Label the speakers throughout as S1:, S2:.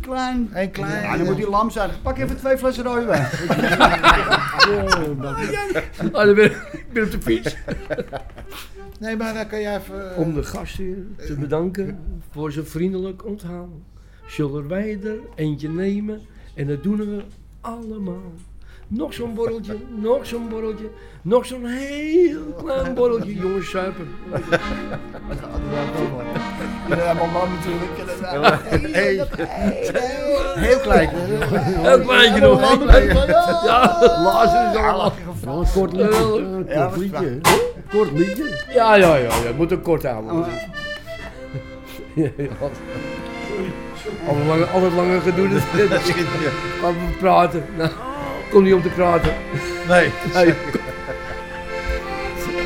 S1: klein.
S2: Eén klein.
S1: Ja, dan moet die lam zijn. Pak even twee flessen rode wijn.
S3: Ah, dan ben ik ben op de fiets.
S2: Nee, maar dan kan jij even... eh,
S3: Om de gastheer te bedanken voor zijn vriendelijk onthaal. Zullen wij er eentje nemen en dat doen we allemaal. Nog zo'n borreltje, nog zo'n borreltje, nog zo'n heel klein borreltje, jongens zuipen.
S1: Ja, mijn man natuurlijk. Ja,
S2: Hey. Heel klein.
S3: Heel kleintje nog. Ja,
S1: Lazarus is al
S4: Wel een kort liedje.
S3: Wel,
S4: eh, Een
S1: ja,
S4: kort
S1: we
S4: liedje. hè? Kort liedje.
S3: ja, ja, ja, ja, moet ook kort
S1: Oh,
S3: houden. Ja, ja. Al het lange, al het lange gedoe, dat gaan we praten. Nou, kom niet om te praten.
S2: Nee.
S3: Nee.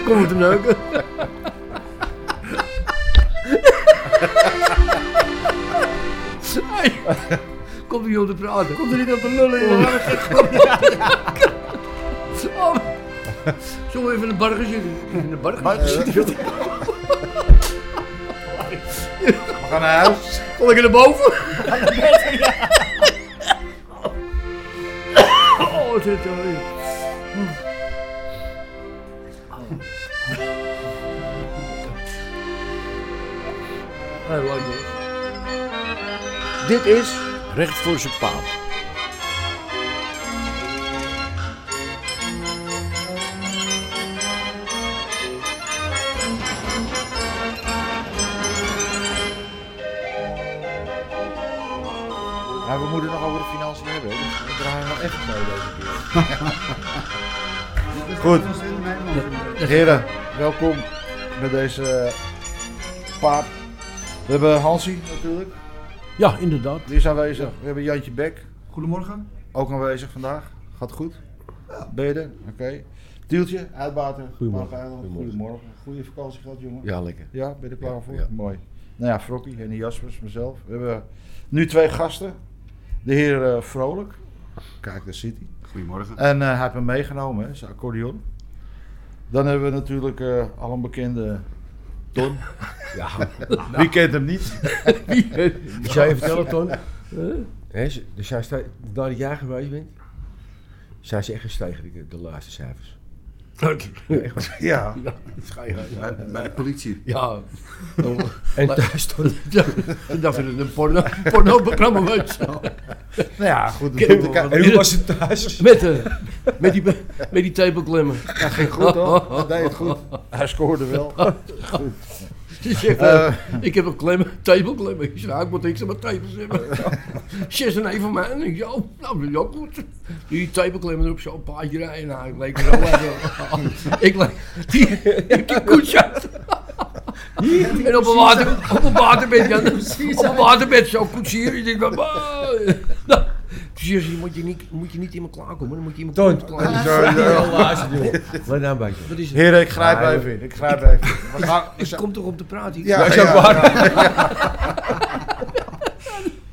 S3: Kom het hem neuken. Hey. Kom niet om te praten.
S1: Komt er niet op de lullen, jongen.
S3: Oh. Zullen we even in de bar gaan zitten? In de bar gaan
S1: Maar-
S2: We gaan naar huis.
S3: Kom ik naar boven? Oh, wat zit er in? Oh. Hij lang nog.
S4: Dit is Recht voor zijn paap.
S2: Maar we moeten nog over de financiën hebben. hè. We draaien nog echt mee deze keer. Goed. Heren, welkom bij deze eh, paap. We hebben Hansie natuurlijk.
S4: Ja, inderdaad.
S2: Die is aanwezig. We hebben Jantje Bek.
S1: Goedemorgen.
S2: Ook aanwezig vandaag. Gaat goed. Beden. Oké. Tieltje, uitbater.
S4: Goedemorgen.
S2: Mark Eiland.
S4: Goedemorgen.
S2: Goedemorgen. Goede vakantie gehad, jongen.
S4: Ja, lekker.
S2: Ja, ben je er klaar
S4: Ja,
S2: voor?
S4: ja.
S2: Mooi. Nou ja, Frokkie en Jaspers, mezelf. We hebben nu twee gasten. De heer eh, Vrolijk. Kijk, daar zit hij.
S1: Goedemorgen.
S2: En eh, hij heeft hem meegenomen, hè, zijn accordeon. Dan hebben we natuurlijk eh, al een bekende Ton.
S4: Ja.
S2: Wie kent hem niet?
S4: Ik zou je vertellen, Ton. Hè, ze- dus zijn ze- nadat jij geweest bent, zijn ze echt gestegen, de, de laatste cijfers.
S2: ja.
S1: Bij, bij de politie.
S3: Ja,
S4: En thuis stond
S3: ik dacht dat het een porno, porno-programma was.
S2: Nou ja, goed.
S3: Ken-
S2: natuurlijk.
S3: Ken-
S2: Het
S3: Hoe was
S4: het thuis?
S3: Met, eh, met die, met die tepelklemmen.
S2: ging goed, hoor. Hij deed het goed. Eh, Hij scoorde wel.
S3: Die zegt, eh, ik heb een klemmen, tepelklemmen. Ik zeg, nou, ik moet niks aan mijn tepels hebben. Zes en één van mij. En ik zeg, oh, nou, dat is ook goed. Die tepelklemmen erop, zo'n paardje rijden. Nou, ik leek er zo lekker. ik leek, die, die koets uit. En op een, water, op een waterbed, ja, op een waterbed, zo koetsier. Ik denk, bah. Nou, Jezus, je moet je niet, moet je niet in me klaarkomen, dan moet je in me
S4: Toont.
S3: klaarkomen.
S4: Let nou een beetje.
S3: Wat is het?
S2: Heren, ik grijp
S4: Ja,
S2: even in. Ik grijp even in. We gaan-
S3: Ik kom toch om te praten?
S2: Ja,
S4: is ook
S2: ja,
S4: waar.
S2: ja, ja.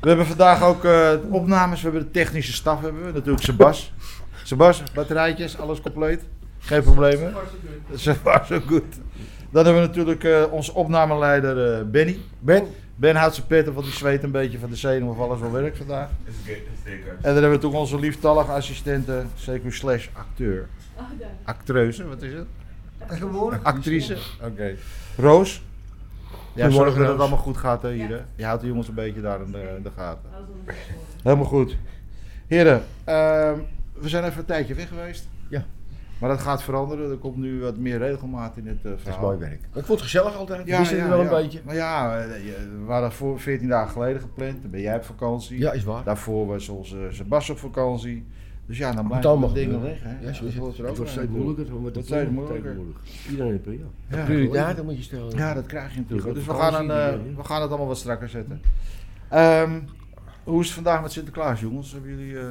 S2: We hebben vandaag ook eh, opnames. We hebben de technische staf hebben we. Natuurlijk Sebas. Sebas, batterijtjes, alles compleet. Geen problemen. Sebas, ook goed. Dan hebben we natuurlijk eh, onze opnameleider eh, Benny.
S4: Ben,
S2: Ben houdt zijn pet op, want die zweet een beetje van de zenuw of alles wel werkt vandaag. En dan hebben we natuurlijk onze lieftallige assistente, CQ slash acteur. Actreuse, wat is het?
S1: Tegenwoordig.
S2: Actrice. Oké. Roos. Ja, zorg dat het
S4: Roos.
S2: allemaal goed gaat hè, hier. Hè? Je houdt de jongens een beetje daar in de, in de gaten. Helemaal goed. Heren, ehm, we zijn even een tijdje weg geweest.
S4: Ja.
S2: Maar dat gaat veranderen. Er komt nu wat meer regelmaat in het eh,
S4: dat is
S2: verhaal.
S4: mooi werk. Ik vond het gezellig altijd.
S2: Ja,
S4: Ja, is het
S2: ja,
S4: wel
S2: ja.
S4: een beetje.
S2: Maar ja, eh, je- we waren voor 14 dagen geleden gepland. Dan ben jij op vakantie.
S4: Ja, is waar.
S2: Daarvoor was onze eh, Sebas op vakantie. Dus ja, dan
S4: moet
S2: blijven de
S4: allemaal
S2: dingen
S4: gebeuren.
S2: liggen. hè.
S4: Ja, zo
S2: dat
S4: is het.
S2: hoort er
S3: Het
S2: ook
S3: wordt
S2: bij
S3: steeds moeilijker. want
S2: Dat
S3: het
S2: steeds
S3: wordt
S2: moeilijker.
S3: Iedereen heeft een ja.
S2: Ja.
S4: Prioriteiten moet je stellen.
S2: Ja, dat krijg je natuurlijk.
S3: Die
S2: Dus we
S3: vakantie
S2: gaan, een,
S3: die,
S2: eh,
S3: hè?
S2: we gaan het allemaal wat strakker zetten. Ehm, hoe is het vandaag met Sinterklaas, jongens? Hebben jullie. eh,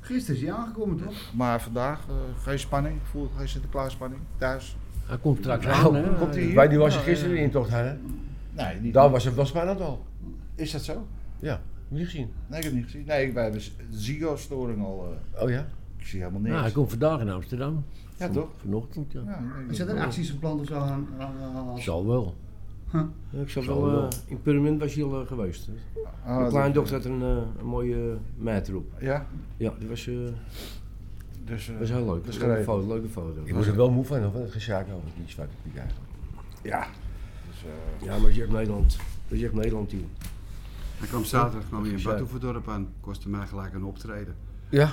S1: Gisteren is hij aangekomen, toch?
S2: maar vandaag eh, geen spanning? Voel geen Sinterklaas-spanning? Thuis?
S3: Hij komt straks
S4: aan,
S3: hè?
S2: Komt hij hier?
S4: Ik weet niet waar ze
S2: Ja,
S4: gisteren
S2: ja.
S4: in intocht hadden.
S2: Nee, niet.
S4: Daar was het wel spannend al.
S2: Is dat zo?
S4: Ja, heb je niet gezien.
S2: Nee, ik heb het niet gezien. Nee, wij hebben Ziggo-storing al. eh,
S4: Oh ja?
S2: ik zie helemaal niks.
S3: Nou, hij komt vandaag in Amsterdam.
S2: Ja, toch?
S3: Vanochtend, ja.
S2: Ja, ik denk
S1: Is
S2: dat
S1: dat er
S2: wel.
S1: acties gepland of zo aan? aan- aan- aan-
S3: Zal wel. Ik zat
S4: Zo
S3: wel,
S4: wel.
S3: eh, in Purmerend was hij al eh, geweest.
S2: Ah,
S3: Mijn
S2: dat-
S3: kleindochter had er een, eh, een mooie meid erop.
S2: Ja,
S3: Ja, die was, eh,
S2: dus... eh,
S3: was heel
S2: is
S3: leuk. leuke
S2: geregeld.
S3: foto, leuke foto.
S4: Ik was er wel moe van, of? Het gesjaak over die zwarte piek eigenlijk.
S2: ja.
S3: Ja, maar je hebt Nederland. Dat je hebt Nederland hier.
S1: Hij kwam zaterdag nog weer in
S3: Ja.
S1: Badhoevedorp aan. Kostte mij gelijk een optreden.
S4: Ja?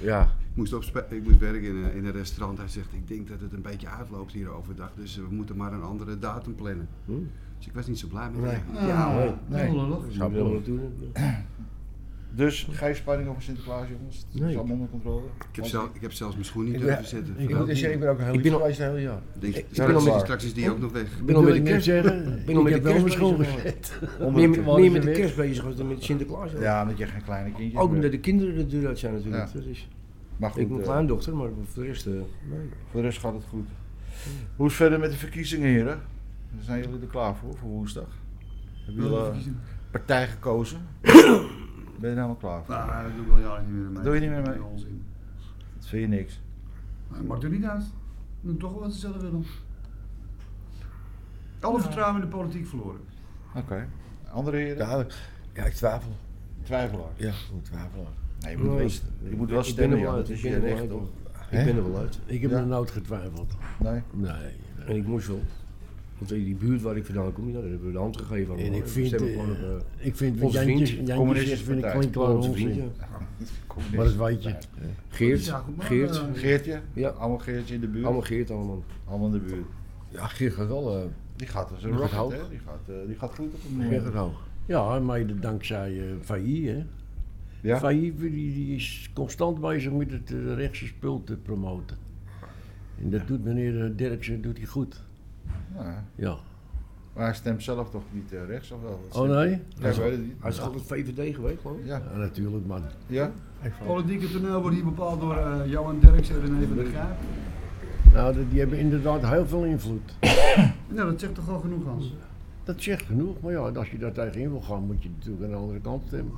S4: Ja.
S1: Ik moest, opspe- ik moest werken in een, in een restaurant. Hij zegt, ik denk dat het een beetje uitloopt hier overdag. Dus we moeten maar een andere datum plannen.
S3: Hmm.
S1: Dus ik was niet zo blij met
S4: Nee.
S1: hem.
S2: Ja, nee.
S1: Ja, lollig.
S3: Dus ik ben wel naartoe.
S2: Dus geen spanning over Sinterklaas, jongens. Het is
S3: Nee.
S2: allemaal onder controle.
S1: Ik heb, zelf, ik heb zelfs mijn schoen niet
S4: Ik
S1: durven
S4: ben,
S1: zetten.
S4: ik, moet zeggen, dus ik ben ook een heel
S3: Ik ben
S4: lief
S3: al-
S4: geweest een heel jaar.
S1: Ik denk,
S3: ik ben
S1: straks,
S2: al-
S1: straks is die ook nog weg.
S3: Ik
S5: Ik
S3: ben al met de
S5: net
S3: kerst.
S5: zeggen.
S3: Ik ben al
S5: ik
S3: met de
S5: heb wel
S3: kerst
S5: mijn schoen
S3: bezig,
S5: gezet.
S3: Meer, met- meer met de
S5: weer.
S3: kerst bezig was dan met Sinterklaas. hè.
S2: Ja, omdat je geen kleine kindje
S3: Ook
S2: hebt.
S3: omdat de kinderen er duur uit zijn natuurlijk.
S2: Ja.
S3: Dat is,
S2: Maar
S3: ik heb
S2: goed,
S3: een
S2: eh,
S3: kleindochter, maar voor de rest... eh, nee.
S2: voor de rest gaat het goed. Hoe is het verder met de verkiezingen, heren? Zijn jullie er klaar voor, voor woensdag? Hebben jullie al, eh, partij gekozen? ben je er helemaal klaar voor?
S1: Nou, dat doe ik al jaren niet meer mee.
S2: Dat doe je niet meer mee?
S1: Onzin.
S2: Dat vind je niks.
S1: Maar het maakt er niet uit. Doen toch wel wat ze zelf willen. Alle vertrouwen in de politiek verloren.
S2: Oké. Andere heren?
S4: Ja, ja, ik twijfel.
S2: Twijfelaar.
S4: Ja, ik twijfel.
S2: Nee, je moet,
S3: Nee,
S2: wel,
S3: ik-
S2: je moet wel
S3: ik ben
S2: stemmen,
S3: er wel
S2: ja,
S3: uit,
S2: dat is
S3: ik
S2: je
S3: ben er wel
S2: recht.
S3: uit,
S2: Of,
S4: Hè?
S3: Ik ben er wel uit.
S5: Ik heb
S2: Ja.
S5: er nooit getwijfeld.
S2: nee.
S5: Nee.
S3: En ik moest wel. Want die die buurt waar ik vandaan kom, ja, daar hebben we de hand gegeven aan.
S5: En
S3: elkaar.
S5: ik
S3: We
S5: vind,
S3: stemmen
S5: eh,
S3: gewoon op, eh,
S5: ik vind wat
S3: onze
S5: Jantjes,
S3: vriend,
S5: Jantjes
S2: Communistische
S5: is vind ik
S2: Partij.
S5: klinkklaar
S3: onze vriendje.
S5: onzin. Maar dat weet je.
S3: Geert,
S1: Ja, goed, maar,
S3: Geert.
S1: eh,
S2: Geertje?
S3: Ja.
S2: Allemaal Geertje in de buurt?
S3: Allemaal Geert allemaal.
S2: Allemaal in de buurt.
S4: Ja, Geert gaat wel. eh,
S2: Die gaat als een
S4: Die gaat
S2: rocket,
S4: hoog.
S2: hè? Die gaat, eh, die gaat goed op het
S4: Geert
S2: moment.
S4: gaat hoog.
S5: Ja, mede dankzij eh FAI. Hè.
S2: Ja?
S5: FAI die, die is constant bezig met het eh, rechtse spul te promoten. En dat doet meneer eh, Derksen doet hij goed.
S2: Ja.
S5: Ja.
S2: Maar hij stemt zelf toch niet eh, rechts of wel?
S5: Oh nee?
S2: Ja, ik weet het niet.
S3: Hij is altijd VVD geweest, geloof ik.
S2: Ja.
S5: Ja, natuurlijk man.
S2: Ja?
S1: Het politieke toneel wordt hier bepaald door eh Johan Derks en René van der Grijp.
S5: Nou, die, die hebben inderdaad heel veel invloed.
S1: Nou, dat zegt toch al genoeg, Hans?
S5: Dat zegt genoeg, maar ja, als je daar tegenin wil gaan, moet je natuurlijk aan de andere kant stemmen.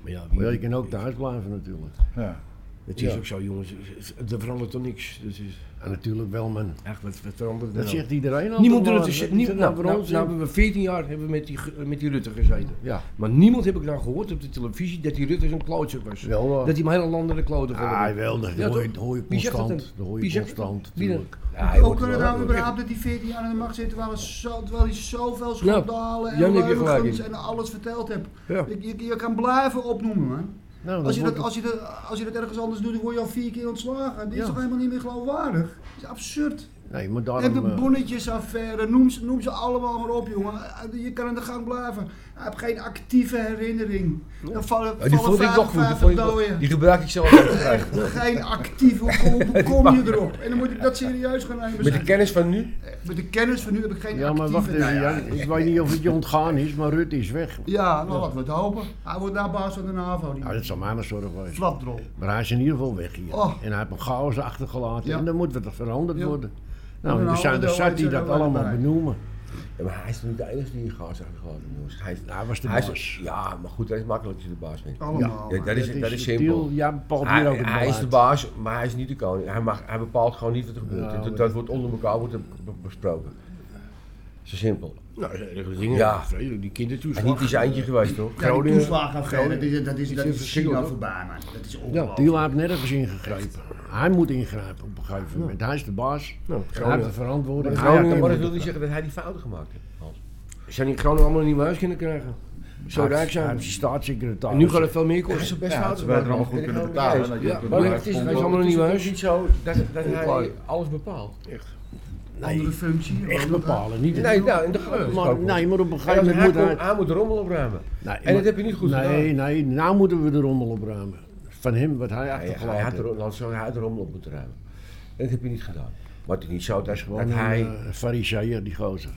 S3: Maar ja,
S5: Maar ja, je kan ook thuis blijven natuurlijk.
S2: Ja.
S3: het is
S5: Ja.
S3: ook zo, jongens. het- het- Er verandert toch niks. Dus is
S5: En natuurlijk wel man.
S3: echt, wat, wat verandert er
S5: Dat
S3: nou?
S5: zegt iedereen al.
S3: Niemand doet
S5: maar
S3: het. Dus,
S5: dat is
S3: nie,
S5: er
S3: nou,
S5: voor
S3: nou,
S5: ons
S3: nou
S5: in.
S3: hebben we 14 jaar hebben we met, die, ge- met die Rutte gezeten.
S5: Ja,
S3: Maar niemand heb ik nou gehoord op de televisie dat die Rutte zo'n klootzak was.
S5: wel eh, waar.
S3: Dat hij mijn hele land naar de klote ging.
S5: Ah, wel, dat
S3: Ja,
S5: hoor je,
S3: toch?
S5: hoor je
S3: Wie zegt dat
S5: constant.
S3: dan?
S5: Dat hoor
S3: Wie
S5: je
S3: zegt dat dan?
S5: constant,
S3: Wie dan?
S5: natuurlijk.
S1: Ook kunnen nou überhaupt dat die 14 jaar aan de macht zit, terwijl, er zo, terwijl hij zoveel schandalen
S3: Nou, Jan,
S1: en
S3: heb je gelijk
S1: leugens
S3: in.
S1: en alles verteld hebt.
S3: Ja.
S1: Je, je, je kan blijven opnoemen, man.
S5: Nou, dan
S1: Als je, dat,
S5: wordt het-
S1: als, je dat, als je dat ergens anders doet, dan word je al vier keer ontslagen. Dit is
S5: Ja.
S1: toch helemaal niet meer geloofwaardig? Dat is absurd.
S5: Nee, maar
S1: En
S5: daarom...
S1: de
S5: eh,
S1: bonnetjesaffaire, noem ze, noem ze allemaal maar op, jongen. Eh, Je kan aan de gang blijven. Hij heeft geen actieve herinnering. Dan vallen,
S4: Ja, die
S1: vallen
S4: vond ik nog goed. Die,
S1: 55
S4: vond ik
S1: doden.
S4: nog- die gebruik ik zelf ook graag.
S1: Geen actieve, hoe, hoe kom je erop? En dan moet ik dat serieus gaan nemen.
S4: Met de kennis van nu?
S1: Met de kennis van nu heb ik geen
S5: Ja, maar wacht
S1: actieve...
S5: even,
S1: Nou ja,
S5: Jan. Ik weet niet of het je ontgaan is, maar Rutte is weg.
S1: ja, nou laten we het hopen. Hij wordt daar baas van de NAVO. Die
S5: Nou, dat zal mij maar zorgen wezen.
S1: flapdrol.
S5: Maar hij is in ieder geval weg hier.
S1: Oh.
S5: En hij heeft een chaos achtergelaten.
S1: Ja.
S5: En dan moet wat er veranderd
S1: Ja.
S5: worden.
S1: En
S5: Nou,
S1: dan
S5: er zijn
S1: houden
S5: er
S1: we de
S5: zat die
S1: OIC
S5: dat
S1: er wel
S5: allemaal
S1: bij.
S5: benoemen.
S4: Ja, maar hij is niet de enige die in gas aangehad jongens. Hij, is-
S5: Hij was de
S4: hij is-
S5: baas.
S4: Ja, maar goed, hij is makkelijk als je de baas bent.
S1: Allemaal.
S4: Ja, dat is, dat is
S5: subtiel.
S4: simpel.
S5: Jij bepaalt hier
S4: Hij,
S5: ook het
S4: hij is de
S5: beleid.
S4: baas, maar hij is niet de koning. Hij, mag, hij bepaalt gewoon niet wat er gebeurt.
S5: Nou,
S4: dat, dat wordt onder elkaar wordt er be- besproken. Zo simpel.
S3: Nou, dat zijn erge dingen.
S4: Ja.
S3: Vreselijk, Die
S4: En
S3: kindertoeslag.
S4: niet die eindje geweest, toch?
S1: Ja, die
S3: Groningen-
S1: toeslagenaffaire, dat is, dat is,
S3: is
S1: dat
S3: een
S1: is
S3: verschil,
S1: China
S3: hoor.
S1: voorbij, man. Dat is
S5: Ja,
S1: ongelooflijk.
S5: Tiel heeft nergens ingegrepen. Hij moet ingrijpen op een gegeven moment. Hij is de baas.
S3: Nou,
S5: Hij heeft de
S3: Groningen.
S5: verantwoording.
S3: Maar
S5: Hij
S3: Groningen-
S5: heeft
S4: maar
S5: de
S4: dat wil
S5: moeilijke-
S4: niet zeggen dat hij die fouten gemaakt heeft. Hans.
S3: Zijn die Groningen allemaal niet meer huis kunnen krijgen? Zo rijk
S5: Hij
S3: zijn.
S5: is staatssecretaris.
S3: En nu gaat het veel meer kosten.
S4: best
S2: Ja, ze werden er allemaal goed kunnen betalen. dat nou, je
S3: Ja,
S2: ook een
S3: maar
S2: bedrijf
S3: het is-
S2: kon
S3: hij is
S2: worden.
S3: allemaal niet meer
S4: Het
S3: huis.
S4: is niet zo dat, dat hij alles bepaalt.
S1: Andere functie.
S5: echt
S1: andere-
S5: bepalen. Niet
S4: Nee, nou, en dat gaat dus
S5: maar,
S4: ook
S5: nee, maar op een
S4: Hij,
S5: gegeven
S4: hij,
S5: moment moet
S4: kon-
S5: hij...
S4: hij moet de rommel opruimen.
S5: Nee,
S4: En
S5: maar-
S4: dat heb je niet goed gedaan.
S5: Nee, nee, nou moeten we de rommel opruimen. Van hem, wat hij
S4: Hij, hij
S5: achtergelaten
S4: had
S5: heeft.
S4: er, had zo- hij had de rommel op moeten ruimen. En dat heb je niet gedaan. Maar het is niet zo dat,
S5: Gewoon
S4: dat
S5: hij...
S4: hij...
S5: een eh, fariseïer, die gozer.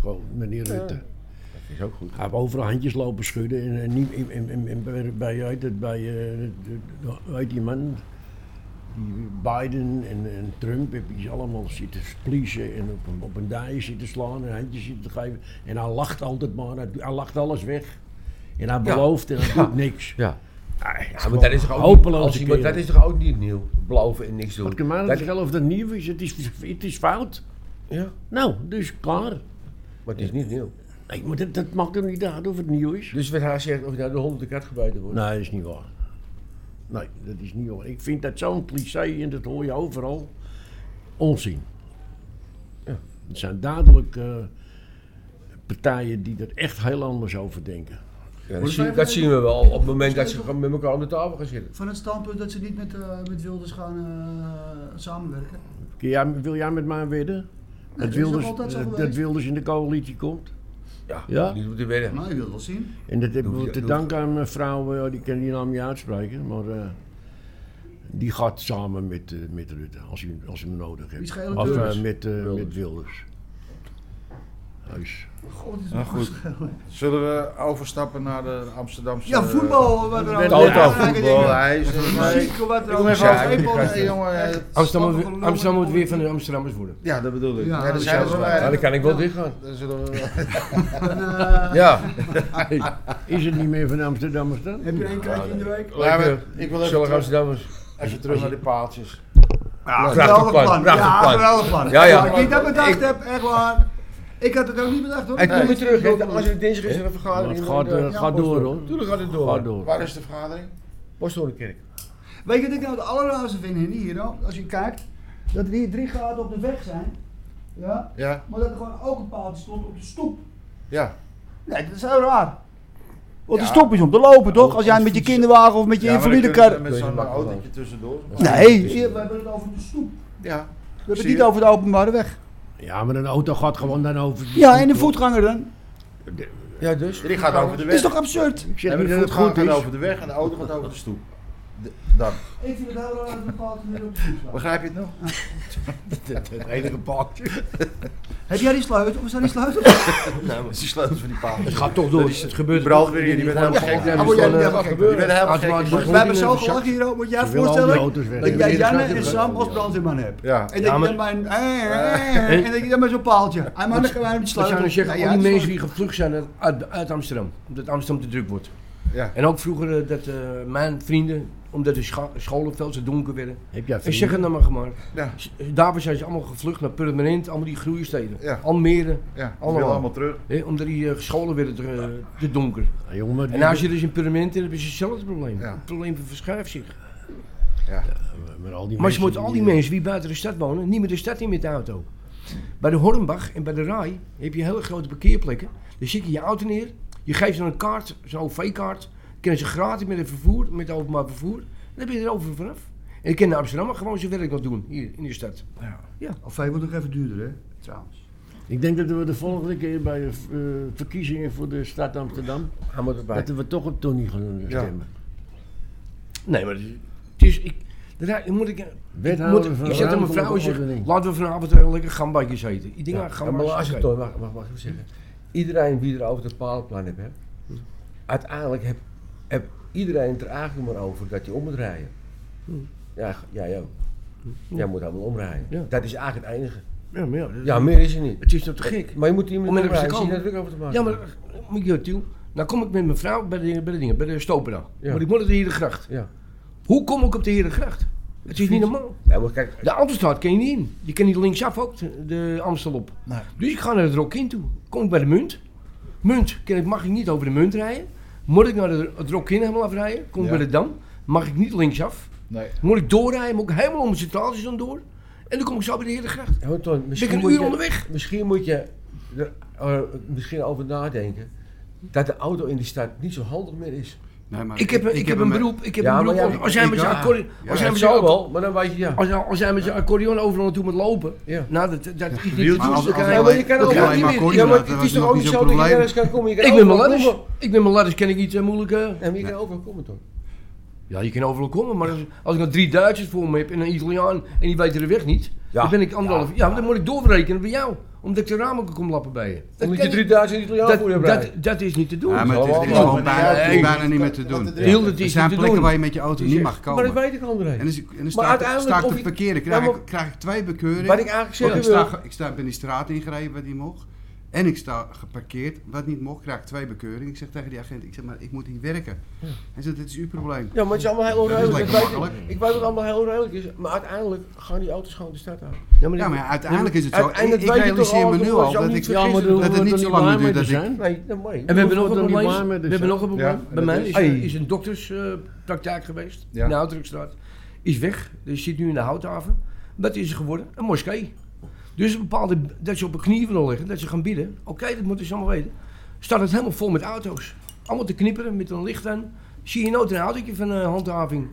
S5: Gewoon meneer Rutte.
S4: Dat is ook goed.
S5: Hij heeft overal handjes lopen schudden en, en, niet- en, en, en, en bij, bij, hoe heet het, bij eh, de- de- hoe heet die man, die Biden en, en Trump, heb hij allemaal zitten spliezen en op, een- op een dij zitten slaan en handjes zitten geven. En hij lacht altijd maar, hij, hij lacht alles weg. En hij belooft en hij doet niks.
S4: Ja. Ja, maar
S5: gewoon
S4: dat is toch ook niet,
S5: hopeloze
S4: als iemand,
S5: kerel.
S4: dat is toch ook niet nieuw? Beloven en niks doen.
S5: Wat kan mij
S4: Dat-
S5: dat schelen of dat nieuw is? Het is, het is fout.
S4: ja.
S5: Nou, dus klaar.
S4: Maar het is niet nieuw.
S5: Nee, maar dat, dat mag toch niet uit of het nieuw is?
S4: Dus wat haar zegt, of nou de hond de kat gebeten wordt.
S5: Nee, dat is niet waar. Nee, dat is niet waar. Ik vind dat zo'n cliché en dat hoor je overal. Onzin. Ja. Het zijn duidelijk eh, partijen die er echt heel anders over denken.
S4: Ja, dat,
S1: Wordt
S4: zien,
S1: vijf
S4: dat
S1: minuten?
S4: zien we wel op het moment
S1: Wordt
S4: dat
S1: vijf
S4: ze gewoon met elkaar aan de tafel gaan zitten.
S1: Van het standpunt dat ze niet met, eh, met Wilders gaan eh, samenwerken.
S5: Kun jij- wil jij met mij wedden?
S1: Nou, dat
S5: dat,
S1: is
S5: Wilders,
S1: toch altijd zo
S5: dat- dat
S1: geweest?
S5: Wilders in de coalitie komt?
S4: Ja,
S5: Ja?
S4: niet op de weg.
S1: Maar Nou, je wilt wel zien.
S5: En dat hebben
S4: Doe-
S5: we te
S4: doe-
S5: danken aan mevrouw, eh, die kan die naam niet uitspreken, maar eh, die gaat samen met, eh, met Rutte, als u, als u hem nodig
S1: Wie
S5: hebt.
S1: schelen
S5: Of eh,
S1: Wilders?
S5: met, eh,
S4: Wilders.
S5: met Wilders. Huis.
S1: God, dit is
S2: Nou, goed. Zullen we overstappen naar de Amsterdamse...
S1: Ja, voetbal. Wat er
S5: Toto,
S1: allemaal
S2: Toto,
S1: belangrijke
S2: voetbal,
S1: dingen.
S2: hij is...
S1: Muziek, wat er
S2: Ik kom even over
S1: allemaal-
S4: Ja, ik
S1: voetbal,
S4: begrijp
S1: nee,
S2: één
S1: jongen.
S2: jongen. eh,
S3: Amsterdam,
S1: Stappen van
S3: Amsterdam moet weer
S1: Londen.
S3: van de Amsterdammers worden.
S2: Ja, dat bedoel ik.
S1: Ja,
S2: Ja,
S1: dat
S2: daar zijn we
S1: is
S2: wel
S1: wel
S2: bij.
S4: Ja, dan kan ik wel
S1: Ja.
S4: dicht gaan.
S2: Dan zullen we...
S4: Ja,
S5: Is het niet meer van Amsterdam is dat?
S1: Heb je één kijkje in de week?
S2: Ja, maar
S4: lekker.
S2: ik wil even
S4: Zullen we
S2: terug-
S4: Amsterdammers.
S2: Even terug naar die paaltjes.
S1: Ja,
S4: Ah, prachtig
S1: geweldig
S4: plan,
S1: plan.
S4: prachtig
S1: Ja,
S4: plan.
S1: geweldig plan.
S4: Ja, ja.
S1: Ik denk dat bedacht
S4: Ik-
S1: heb, echt waar. Ik had het ook niet bedacht hoor.
S4: En kom
S1: Nee.
S4: weer terug, hè. Als je dinsdag is er een vergadering.
S5: Het gaat,
S4: dan, eh,
S5: eh, gaat door hoor.
S4: Tuurlijk gaat het door.
S5: Gaat door.
S2: Waar is de vergadering?
S4: Posthoornkerk.
S1: Weet je wat ik nou het allerraarste vind in hier, hoor? als je kijkt? Dat er hier drie graden op de weg zijn. Ja?
S2: Ja,
S1: Maar dat er gewoon ook een paaltje stond op de stoep.
S2: ja.
S1: Nee, dat is heel raar. Want
S2: Ja.
S1: de stoep is om te lopen, toch? Als jij met je kinderwagen of met je
S2: Ja, maar dan
S1: invalidekar...
S2: kunnen we Met
S4: Kun je
S2: zo'n
S4: makkelijk
S2: autootje tussendoor.
S1: Nee, hier, we hebben het over de stoep.
S2: Ja.
S1: We hebben het
S2: Zie je?
S1: niet over de openbare weg.
S5: Ja, maar een auto gaat gewoon dan over.
S1: Ja, en de voetganger dan?
S4: Ja, dus.
S2: Die gaat over de
S1: Dat
S2: weg.
S1: is toch absurd?
S5: Ik zeg
S2: En
S5: niet
S2: de
S5: dat het
S2: voetganger
S5: goed
S2: gaat
S5: is.
S2: over de weg en de auto gaat over de stoep. D- Dan.
S1: Ik vind het heel raar dat een paaltje nu op de stoep staat.
S2: Begrijp je het nog?
S3: Het enige paardje.
S1: Heb jij die sleutel? Is daar die sleutel?
S2: Nee, maar is die sleutel van die
S3: Het
S2: paaltjes.
S3: gaat toch door. Het gebeurt.
S2: Brandweer hier, die werd helemaal gek.
S1: Ah, word jij
S3: eh,
S1: niet helemaal
S2: Die
S1: gek?
S2: werd helemaal
S3: Als maar-
S2: gek.
S1: We hebben zo gelachen hier, moet jij
S5: Ze willen al die
S1: voorstellen
S5: auto's weg.
S1: dat jij Janne en
S3: Ja.
S1: Sam als brandweerman hebt.
S2: Ja.
S1: En
S3: Ja,
S1: dat je
S3: maar-
S1: dan mijn... eh, En dat je dan met zo'n paaltje. Hij mag dan met
S3: Dat
S1: sleutel. Nou
S3: zijn er zeggen,
S1: Ja,
S3: al die
S1: ja,
S3: mensen die gevlucht zijn uit- uit, uit Amsterdam. Omdat Amsterdam te druk wordt.
S2: Ja.
S3: En ook vroeger eh, dat eh, mijn vrienden, omdat de scha- scholen veel te donker werden.
S5: Heb jij
S3: Ik zeg het nou maar gemaakt.
S2: Ja.
S3: Daarvoor zijn ze allemaal gevlucht naar Permanent, allemaal die groeisteden.
S2: Ja.
S3: Almere,
S2: Ja, die
S3: Allemaal.
S2: willen allemaal terug.
S3: hè, omdat die eh, scholen werden te, eh, te donker.
S5: Ja, jongen, maar
S3: En als je dus in Permanent hebt, is hetzelfde probleem.
S2: Ja.
S3: Het probleem van verschuift zich.
S5: maar eh,
S3: Maar
S5: al die
S3: je
S5: mensen
S3: moet al die eh, mensen die buiten de stad wonen, niet meer de stad in met de auto. Bij de Hornbach en bij de Rai heb je hele grote parkeerplekken. Daar zit je je auto neer, je geeft ze een kaart, zo'n OV-kaart. Kennen ze gratis met het vervoer, met het openbaar vervoer. Dan ben je er over vanaf. En ik ken de Amsterdammer gewoon zijn werk nog doen, hier in de stad.
S1: Of hij wordt nog even duurder, hè? Trouwens.
S5: Ik denk dat we de volgende keer bij de eh, verkiezingen voor de stad Amsterdam,
S4: Hij moet erbij.
S5: dat we toch op Tony gaan stemmen.
S3: Nee, maar het is- Nou, het is... Ik, daar moet ik... Moet,
S5: Wethouder van
S3: ik zet aan mijn
S5: ruimtelijke
S3: vrouw en zeg,
S5: ordening.
S3: laten we vanavond wel lekker gambatjes eten. Ik denk, ja,
S4: Ja, maar
S3: gambatjes,
S4: laatste
S3: oké.
S4: toon, mag, mag, mag ik even zeggen. Iedereen die er over het paalplan heeft, hè, uiteindelijk heb, heb iedereen het er eigenlijk maar over dat hij om moet rijden. Ja, g- jij ook. Jij moet allemaal omrijden.
S3: Hmm. Ja.
S4: Dat is eigenlijk het enige.
S3: Ja, maar ja, dat-
S4: Ja, meer is er niet.
S3: het is toch te gek?
S4: Maar je moet iemand
S3: Om ergens te
S4: omrijden, zie
S3: komen.
S4: je dat druk over te maken.
S3: Ja, maar moet je Tiel, nou kom ik met mijn vrouw bij de, bij de dingen, bij de Stopera.
S4: Ja.
S3: Maar ik moet naar de Herengracht.
S4: Ja.
S3: Hoe kom ik op de Herengracht? Het is niet normaal.
S4: Ja, maar kijk,
S3: De Amstelstraat ken je niet in. Je kan niet linksaf ook de- de Amstel op.
S2: Nee.
S3: Dus ik ga naar het Rock in toe. Kom ik bij de munt. Munt, ken ik, mag ik niet over de munt rijden. Moet ik naar de- het Rock in helemaal afrijden. Kom ik
S2: Ja.
S3: bij de Dam. Mag ik niet linksaf.
S2: Nee.
S3: Moet ik doorrijden. Moet ik helemaal om de centraaltjes dan door. En dan kom ik zo bij de Herengracht.
S4: ja, maar Toon,
S3: Ben ik
S4: misschien,
S3: een
S4: moet
S3: uur
S4: je,
S3: onderweg.
S4: misschien moet je er eh, misschien over nadenken dat de auto in die stad niet zo handig meer is.
S6: Nee,
S4: Ah,
S6: maar
S3: Ik heb, een- ik heb een beroep. Ik heb
S4: Ja,
S3: een
S4: maar
S3: beroep.
S4: ja,
S3: Als jij
S4: ik-
S3: met je
S4: ja.
S3: accordeon...
S4: Ja,
S3: Als jij
S4: het
S3: met je
S4: zou
S3: accordeon...
S4: wel, maar dan weet je ja.
S3: Als, als jij met je accordeon overal naartoe moet lopen,
S4: Ja.
S3: nou, dat, dat is
S6: wieltjes,
S3: niet
S6: als-
S3: goed.
S6: als-
S4: Ja, maar je kan
S6: Dat
S4: ook
S6: je alleen
S4: niet
S6: maar
S4: meer-
S6: kon
S4: Ja, maar
S6: inderdaad,
S4: het
S6: dat was
S4: is toch
S6: nog
S4: ook niet
S6: niet
S4: zo
S6: zo'n
S4: dat je
S6: probleem.
S4: ergens kan komen? Je kan
S3: Ik ben mijn
S4: overal
S3: ladders.
S4: komen.
S3: Ik ben mijn ladders, ken ik niet zo moeilijk. eh.
S4: Ja, maar je kan overal komen toch?
S3: Ja, je kan overal komen, maar als, als ik nog drie Duitsers voor me heb en een Italiaan en die weten de weg niet,
S4: Ja.
S3: dan ben ik anderhalf. Ja, dan moet ik doorrekenen bij jou, omdat ik de ramen kom lappen bij je. Dat,
S4: Omdat
S3: kan
S4: je
S3: ik-
S4: 3000 Italiaan voor je
S3: dat, dat,
S4: hebt
S3: dat is niet te doen. Oh,
S6: Ja, maar het is, er is
S4: Allemaal.
S6: gewoon bijna,
S2: Nee.
S6: het is bijna niet meer te doen.
S2: Ja.
S3: Heel dat
S6: Er
S3: is niet
S6: zijn
S3: te
S6: plekken
S3: doen.
S6: waar je met je auto niet mag
S4: Maar dat
S6: komen.
S4: weet ik André.
S6: En dan, en dan
S4: Maar
S6: sta, ik-
S4: uiteindelijk
S6: sta ik
S4: of
S6: te
S4: ik-
S6: parkeren.
S4: Ja,
S6: Krijg,
S4: maar-
S6: ik, krijg ik twee bekeuringen.
S4: Wat ik eigenlijk
S6: Want
S4: zeggen
S6: ik, sta,
S4: wil-
S6: ge- ik sta, ben die straat ingereden waar die mocht. En ik sta geparkeerd, wat niet mocht, krijg ik twee bekeuringen. Ik zeg tegen die agent, ik zeg maar, ik moet hier werken. Hij zegt, dit is uw probleem.
S4: Ja, maar het is allemaal heel
S6: Dat is
S4: onredelijk.
S6: lekker
S4: Ik weet-
S6: makkelijk.
S4: Ik weet dat het allemaal heel onredelijk is, maar uiteindelijk gaan die auto's gewoon de stad uit.
S6: Ja, maar ja, uiteindelijk is het zo. Ik,
S4: Uiteindelijk
S6: ik
S4: weet je toch
S6: realiseer me
S4: alles,
S6: nu
S4: jongens,
S6: al
S4: je
S6: dat,
S4: moet
S6: ik,
S4: niet vergissen.
S6: dat het niet zo lang duurt dat ik...
S4: Nee, dat moet je.
S3: En we hebben nog een
S5: hoeven er niet
S3: probleem.
S5: waar mee te
S3: We hebben
S5: zijn.
S3: nog een probleem.
S2: Ja, dat
S3: Bij mij
S2: is-
S3: is,
S2: Hey.
S3: is een dokterspraktijk geweest.
S2: Ja.
S3: In de Houtdrukstraat. Is weg. Dus zit nu in de houthaven. Wat is er geworden? Een moskee. Dus een bepaalde, dat ze op hun knieën willen liggen, dat ze gaan bidden. Oké, dat moeten ze allemaal weten. Staat het helemaal vol met auto's. Allemaal te knipperen met een licht aan. Zie je nooit een autootje van eh, handhaving.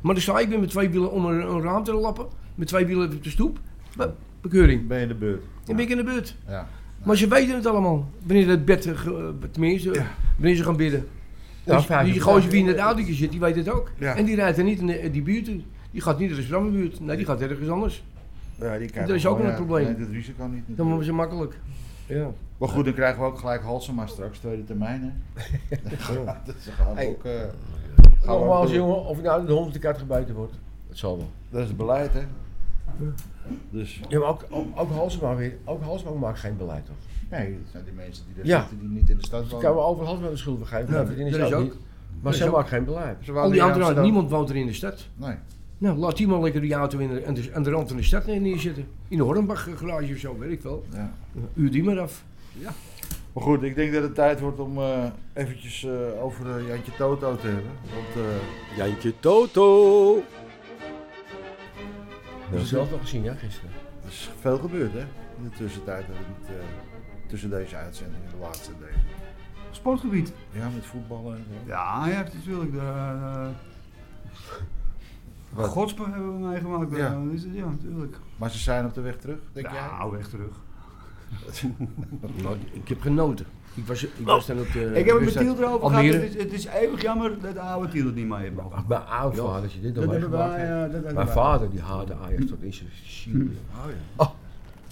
S3: Maar dan sta ik weer met twee wielen om een, een raam te lappen. Met twee wielen op de stoep. Be- Bekeuring.
S2: Ben je in de beurt?
S3: Dan ben ik in de buurt.
S2: Ja.
S3: Maar ze weten het allemaal. Wanneer het bed, eh, ge- eh, tenminste, wanneer ze gaan bidden. Dus die gozer wie in het autootje zit, die weet het ook.
S2: Ja.
S3: En die rijdt er niet in de- die buurt toe. Die gaat niet in de Strammenbuurt. Nee, die gaat ergens anders.
S2: Ja, die kijkt
S3: Dat is
S2: wel,
S3: ook nog een probleem.
S2: Nee, dat risico niet.
S3: Dan
S2: natuurlijk.
S3: worden ze makkelijk.
S4: Ja.
S2: Maar goed, dan krijgen we ook gelijk Halsema straks, tweede termijn. Hè? dat is gaan we
S4: Hey.
S2: ook, eh, gaan we ook
S4: Nogmaals
S2: doen.
S4: jongen, of nou de hond uit de kat gebeten wordt, het zal wel.
S2: Dat is het beleid, hè? Dus
S4: Ja, maar ook, ook, ook Halsema weer, ook Halsema maakt geen beleid toch?
S2: nee, dat zijn die mensen die, er
S4: Ja.
S2: zitten, die niet in de stad
S4: Ik
S2: wonen.
S4: kan me overal Halsema de schuld vergeven, maar verdienen
S3: dat
S4: ze
S3: is
S4: ook
S3: ook.
S4: niet. Maar
S3: is
S4: zij
S3: ook.
S4: maakt geen beleid.
S2: Ze wouden
S3: Al die
S2: hier in
S3: anderen,
S2: Amsterdam-
S3: niemand woont er in de stad.
S2: Nee.
S3: Nou, laat die man lekker die auto in de, aan de- aan de rand van de stad neer- neerzitten. In de Hornbach garage of zo, weet ik wel.
S2: Ja.
S3: Uur die maar af.
S2: Maar goed, ik denk dat het tijd wordt om eh, eventjes eh, over eh, Jantje Toto te hebben. Want eh,
S7: Jantje Toto.
S4: Dat heb ik zelf nog gezien, ja, gisteren.
S2: er is veel gebeurd, hè? In de tussentijd. Dat het, eh, tussen deze uitzending en de laatste deze.
S1: Sportgebied.
S2: Ja, met voetballen en zo.
S1: Ja, je hebt natuurlijk de... eh,
S2: Wat?
S1: Godspe hebben we meegemaakt.
S2: Ja.
S1: Ja, is het, ja natuurlijk.
S2: Maar ze zijn op de weg terug, denk jij?
S1: Ja, weg terug.
S3: Nou, ik heb genoten. Ik was, ik was dan op de...
S1: Ik heb het met
S3: wedstrijd
S1: Tiel erover gehad.
S3: Dus Almere.
S1: Het is, het is eeuwig jammer dat de oude Tiel het niet mee heeft mogen.
S4: Ach, Mijn oude vader, dat je dit nog
S1: Dat hebben
S4: meegemaakt
S1: wij,
S4: hebt.
S1: ja, dat hebben
S4: Mijn
S1: wij.
S4: vader die haatte Ajax tot in zijn ziel.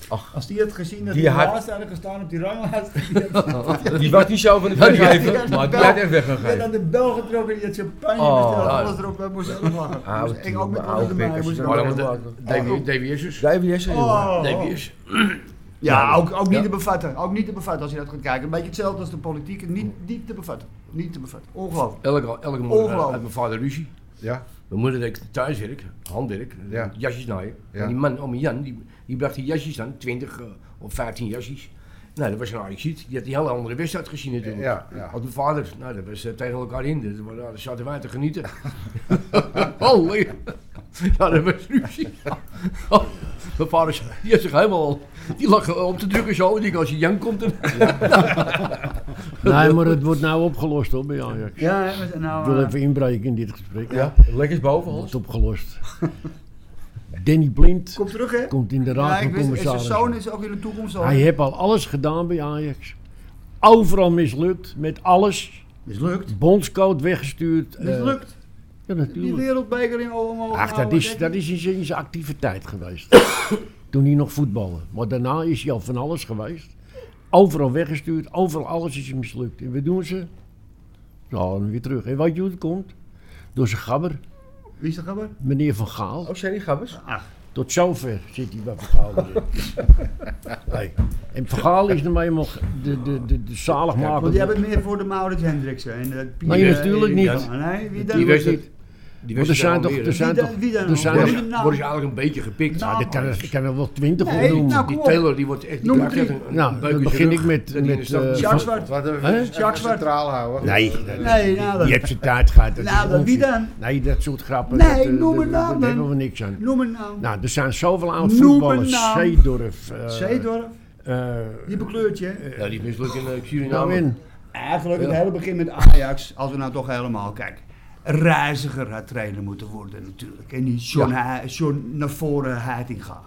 S1: Als die had gezien dat
S4: Die
S1: die
S4: had-
S1: laatst hadden gestaan op die ranglijst. Die had,
S4: Die was niet zo van de
S1: die had- die
S4: weggeven,
S1: had de
S4: maar die
S1: bel-
S4: had echt
S1: die had aan
S4: weggegeven.
S1: de bel getrokken, die had champagne
S4: Oh,
S1: besteld,
S4: ja.
S1: alles erop, hij moest zelf lachen.
S4: Oude
S1: Moest Ik
S4: Tiel,
S1: ook met
S4: mijn
S1: alles
S4: oude
S1: erbij. moest
S4: pikkers.
S3: dan-
S1: ook-
S3: DW- DWS'ers.
S4: Davies, jongen.
S1: Oh.
S3: DWS'ers.
S1: Ja, ook, ook niet te bevatten. Ook niet te bevatten als je dat gaat kijken. Een beetje hetzelfde als de politiek. Niet, niet te bevatten. Niet te bevatten. Ongelooflijk.
S3: Elke, elke morgen
S1: Ongelooflijk.
S3: had mijn vader ruzie.
S2: Ja.
S3: Mijn moeder deed thuiswerk, handwerk,
S2: Ja.
S3: jasjes naaien.
S2: Ja.
S3: En die man, om Jan, die, die bracht die jasjes aan, 20 eh, of 15 jasjes. Nou, dat was een Ajaxiet. Die had die hele andere wedstrijd gezien natuurlijk.
S2: Ja, ja.
S3: Had mijn vader, nou, dat was eh, tegen elkaar in. Dus, maar, daar zaten wij te genieten. Holy! Ja, dat was ruzie. mijn vader, zei- die had zich helemaal, die lag eh, op te drukken zo. Ik denk, als je Jan komt, dan...
S5: Nee, maar het wordt nou opgelost hoor bij Ajax.
S1: Ja, hè, maar
S5: Ik
S1: nou...
S5: wil
S1: eh,
S5: even inbreken in dit gesprek.
S4: Ja, lekker boven
S5: Het
S4: ons.
S5: wordt opgelost. Danny Blind
S1: Kom terug, hè?
S5: komt in de raad
S1: Ja,
S5: van
S1: ik wist, is zijn
S5: commissarissen.
S1: zoon is ook in de toekomst al.
S5: Hij heeft al alles gedaan bij Ajax. Overal mislukt, met alles.
S1: Mislukt.
S5: Bondscoach weggestuurd. eh,
S1: Mislukt.
S5: ja,
S1: Die
S5: natuurlijk.
S1: wereldbeker in allemaal.
S5: Ach, dat is, dat is in zijn- zijn actieve tijd geweest. Toen hij nog voetballen. Maar daarna is hij al van alles geweest. Overal weggestuurd, overal alles is hem mislukt. En wat doen ze? Ze halen hem weer terug. En weet je hoe het komt? Door zijn gabber,
S1: Wie is de gabber?
S5: meneer Van Gaal.
S4: Ook zijn die gabbers?
S5: Tot zover zit hij bij Vergaal. nee. En Vergaal is nou eenmaal de, de, de, de
S1: Want jij
S5: zaligmaker.
S1: bent meer voor de Maurits Hendriksen. En eh, Pier,
S5: Nee,
S1: eh,
S5: natuurlijk
S1: en-
S5: niet.
S1: Ja, nee, wie dan?
S5: Die
S1: Wie
S5: weet
S1: dan?
S5: niet.
S3: Die
S5: Want er zijn toch... Er
S3: Almere.
S5: zijn
S1: Wie
S5: toch...
S1: dan- wie dan?
S5: Er zijn
S1: Worden
S5: toch...
S1: ze nou-
S3: Worden ze eigenlijk een beetje gepikt.
S1: Nou,
S5: Ah, dat kan er- ik kan er wel twintig op
S1: Nee,
S5: noemen.
S1: nou, kom
S3: Die
S1: op.
S3: Taylor die wordt echt... die
S1: Noem
S3: krijgt
S1: drie.
S3: echt een- een
S5: Nou,
S3: beuk in
S5: dan
S3: zijn
S5: begin
S3: rug
S5: ik met-
S3: dat hij in
S5: met,
S3: de stad-
S5: eh,
S1: Jacques Zwart.
S2: Laten we
S5: Hè?
S2: even
S1: Jacques Zwart.
S2: centraal houden.
S5: Nee,
S1: Nee, nou
S5: Je
S1: dan.
S5: hebt zijn tijd gehad. dat is
S1: Nou, dan, wie
S5: onzin.
S1: dan?
S5: Nee, dat soort grappen.
S1: Nee,
S5: dat, eh,
S1: noem
S5: dat-
S1: een naam
S5: Daar
S1: dan.
S5: hebben we niks aan.
S1: Noem een naam.
S5: Nou, er zijn zoveel oud
S1: Noem een
S5: voetballers.
S1: naam.
S5: Zeedorf. eh,
S1: Zeedorf.
S5: eh,
S1: Die bekleurt je.
S3: Ja, die mislukt in eh,
S5: Nou,
S3: Suriname.
S5: in.
S1: Eigenlijk het hele begin met Ajax. Als we nou toch helemaal kijken. Reiziger had trainer moeten worden natuurlijk. En niet John, He- John naar voren Heitinga.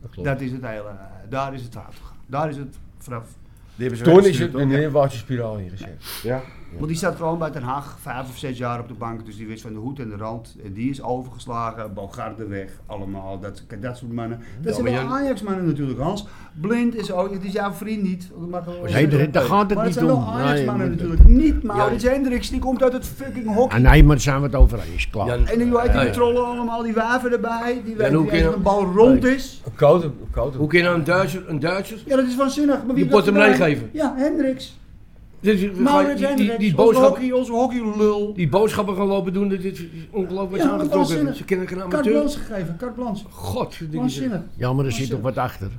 S4: Dat klopt.
S1: Dat is het hele. Daar is het uitgegaan. Daar is het vanaf.
S2: Die hebben ze
S4: Toen is
S2: weggestuurd,
S4: het
S2: toch?
S4: een neerwaartse spiraal ingezet.
S2: Ja,
S1: Want die zat gewoon bij Den Haag vijf of zes jaar op de bank. Dus die wist van de hoed en de rand. En die is overgeslagen. Bogarde weg. Allemaal. Dat, dat soort mannen. Dat zijn wel Ajax-mannen natuurlijk, Hans. Blind is ook. Het is jouw vriend niet. Dat mag wel
S5: Nee, daar- daar gaat het
S1: maar
S5: niet
S1: zijn wel
S5: om.
S1: Ajax-mannen
S5: Nee,
S1: natuurlijk. Niet Maurits Hendricks. Die komt uit het fucking hok.
S5: Ah, nee, maar daar zijn we het over eens, klaar.
S3: Jan,
S1: En die, die
S3: Nee.
S1: trollen allemaal. Die waven erbij. Die weten
S3: hoe
S1: niet
S3: kun je-
S1: eens dat een bal rond is.
S4: Een koude, een koude.
S3: Hoe kun je nou een Duitser, een Duitser?
S1: Ja, dat is waanzinnig. Maar wie
S3: Je
S1: heeft dat
S3: portemonnee
S1: gedaan?
S3: geven.
S1: Ja, Hendricks.
S3: Dit is-
S1: Maurits
S3: die, die,
S1: Hendricks.
S3: die,
S1: onze
S3: boodschappen,
S1: hockey, onze hockeylul.
S3: die boodschappen gaan lopen doen, dit is ongelooflijk wat
S1: Ja,
S3: ze
S1: maar
S3: aangetrokken hebben.
S1: waanzinnig.
S3: Ze kennen geen
S1: Carte
S3: amateur.
S1: blanche gegeven. Carte blanche.
S3: God, dit is
S1: Waanzinnig.
S5: Ja, maar er zit toch wat achter.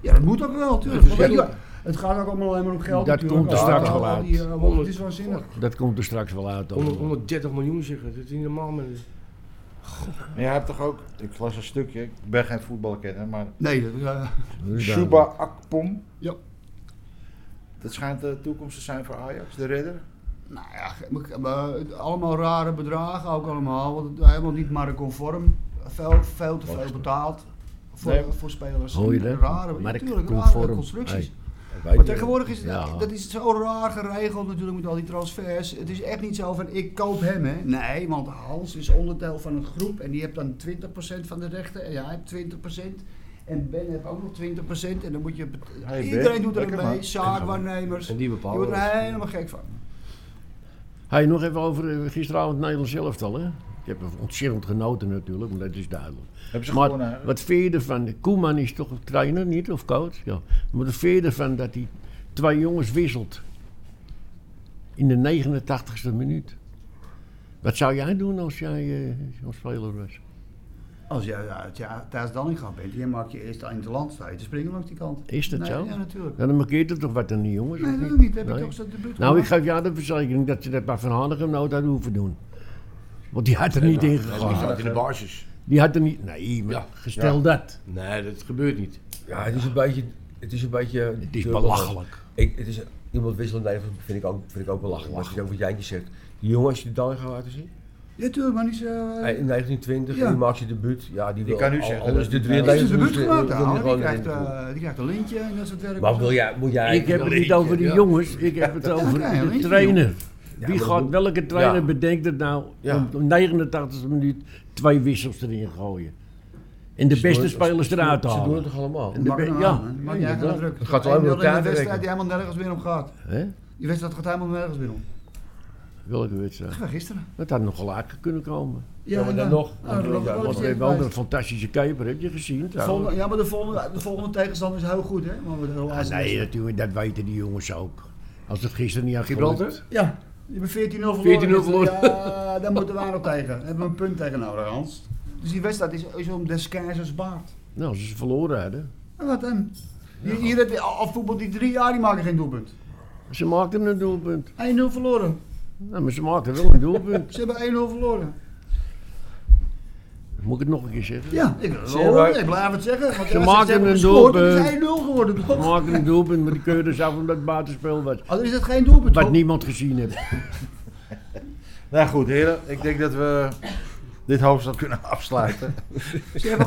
S1: Ja, dat moet ook wel,
S5: Dat is
S1: tuurlijk. Want
S5: wel-
S1: ja, het gaat ook allemaal alleen maar om geld.
S5: Dat
S1: natuurlijk.
S5: komt er
S1: Ja,
S5: straks
S1: al
S5: wel
S1: die,
S5: uit.
S1: eh, want Het is waanzinnig.
S5: Dat komt er straks wel uit. hoor.
S3: 100 130 miljoen zeggen, dat is niet normaal. Man.
S2: Maar jij hebt toch ook, ik las een stukje, ik ben geen voetbalkenner, maar
S1: Nee, dat, eh,
S2: Shuba Akpom.
S1: Ja.
S2: Dat schijnt de toekomst te zijn voor Ajax, de redder.
S1: nou ja, maar- maar het- allemaal rare bedragen ook allemaal. Want het- eh, helemaal niet marktconform. Veel, veel te veel betaald voor,
S2: Nee.
S1: voor spelers.
S5: Hoor je dat?
S1: Rare, natuurlijk, rare
S5: Marktconform.
S1: constructies.
S5: Hey.
S1: Maar tegenwoordig is het,
S5: Ja.
S1: dat is zo raar geregeld natuurlijk met al die transfers. Het is echt niet zo van ik koop hem hè. Nee, want Hans is onderdeel van een groep en die hebt dan 20% van de rechten. En jij hebt 20%. En Ben heeft ook nog 20%. En dan moet je... bet-
S2: Hey, Ben,
S1: iedereen doet er
S2: lekker,
S1: mee.
S2: man.
S1: Zaakwaarnemers.
S3: En
S1: Je
S3: die
S1: wordt
S3: bepalen.
S1: er helemaal gek van.
S5: Hey, nog even over eh, gisteravond Nederland zelf al. Hè? Ik heb er ontzettend genoten natuurlijk, maar dat is duidelijk.
S2: Hebben ze gewoon
S5: Maar wat vind je ervan? Koeman is toch een trainer, niet? Of coach? Ja. Maar wat vind je ervan dat hij twee jongens wisselt? In de 89ste minuut. Wat zou jij doen als jij eh zo'n speler was?
S1: Als jij uit ja, thuis Dallinga bent, je maakt je eerst aan het land sta je te springen langs die kant.
S5: Is dat
S1: nee,
S5: zo?
S1: Ja, natuurlijk.
S5: Ja, dan markeert het toch wat aan die jongens?
S1: Nee,
S5: of
S1: natuurlijk niet. Heb
S5: Nee.
S1: ik toch zo de brug
S5: Nou, ik
S1: gemaakt?
S5: geef jou de verzekering dat je dat bij Van Hanegem nooit had hoeven doen. Want die had er niet in
S3: Dat
S5: gegaan.
S3: gaat in de basis.
S5: Die had er niet... Nee, maar
S3: Ja.
S5: gestel dat.
S3: Nee, dat gebeurt niet.
S4: Ja, het is een beetje. Het is een beetje.
S5: Het is belachelijk.
S4: Ik, het is, iemand wisselen in Nederland vind ik ook, vind ik ook belachelijk. Dat is ook wat Jantje zegt. Die jongen, als je de dan gaat laten zien.
S1: Ja, tuurlijk, maar niet zo... eh,
S4: Hij in 1920,
S1: Ja.
S4: die maakt zijn debuut. Ja, die, wil
S2: kan nu
S4: al-
S2: zeggen
S4: Alles
S2: dat
S4: de
S2: hij-
S4: drie
S2: Hij
S1: Hij is de
S4: Nederlanders
S1: buurt gemaakt,
S4: moeten- willen
S1: ouwe. Die
S4: gewoon
S1: krijgt,
S4: erin doen.
S1: eh, die krijgt een lintje en dat soort werk.
S4: Maar wil jij, moet jij...
S5: Ik heb het niet over die
S3: ja.
S5: jongens, ik heb het over
S1: ja,
S5: de
S1: weet je,
S5: trainer.
S4: Ja,
S5: Wie
S4: maar
S5: gaat,
S4: hoe-
S5: welke trainer
S4: Ja.
S5: bedenkt het nou
S4: Ja.
S5: om om 89e minuut twee wissels erin gooien? En de
S4: Ze doen
S5: beste
S4: het-
S5: spelers
S4: ze-
S5: eruit
S4: Ze doen het
S5: halen.
S4: toch allemaal?
S5: En de
S1: Maak
S5: be-
S1: nou
S5: ja.
S1: aan, hè. Maak jij geen druk.
S4: Het gaat alleen maar
S1: 1-0 in
S4: om
S1: de
S4: elkaar te
S1: wedstrijd die
S4: rekken.
S1: helemaal nergens meer om gaat.
S5: Hè?
S1: Die wedstrijd gaat helemaal nergens meer om.
S5: Welke wedstrijd?
S1: Ja, gisteren.
S5: Dat had nog laker kunnen komen.
S4: Ja, maar dan
S1: inderdaad.
S4: nog.
S1: Ja, dan
S4: Ja,
S5: Want
S1: nog. Oh,
S5: we hebben wel een fantastische keeper, heb je gezien
S1: De
S5: trouwens?
S1: volgende- Ja, maar de volgende, de volgende tegenstander is heel goed, hè? Want we hebben de
S5: Ah,
S1: laatste
S5: nee,
S1: wedstrijd.
S5: natuurlijk, dat weten die jongens ook. Als het gisteren niet had gelukt.
S3: Gibraltar?
S1: Ja, je hebt 14-0 verloren.
S3: 14-0
S1: gisteren. Ja, daar moeten wij nog tegen. Daar hebben we een punt tegen nodig, Hans. Dus die wedstrijd is, is om des keizers baard.
S5: Nou, als ze ze verloren hadden.
S1: En wat hem? Hier, hier heb je al al voetbal die drie jaar, die maken geen doelpunt. 1-0
S5: Ze maakten een doelpunt.
S1: verloren.
S5: Nou, maar ze maakten wel een doelpunt.
S1: Dus Ze hebben 1-0 verloren.
S5: Moet ik het nog een keer zeggen?
S1: Ja, ik, wil het wel
S4: Zeg maar-
S1: horen. ik blijf het zeggen. Want
S5: Ze
S1: ja,
S5: maken
S1: hebben
S5: een
S1: gescoord, Het is 1-0
S5: doelpunt.
S1: geworden,
S5: Ze
S1: toch?
S5: maakten een doelpunt, maar die keurde ze af omdat het buitenspel was.
S1: Al is het geen doelpunt,
S5: Wat
S1: toch?
S5: niemand gezien heeft.
S2: Nou goed, heren, ik denk dat we dit hoofdstuk kunnen afsluiten.
S1: Ze hebben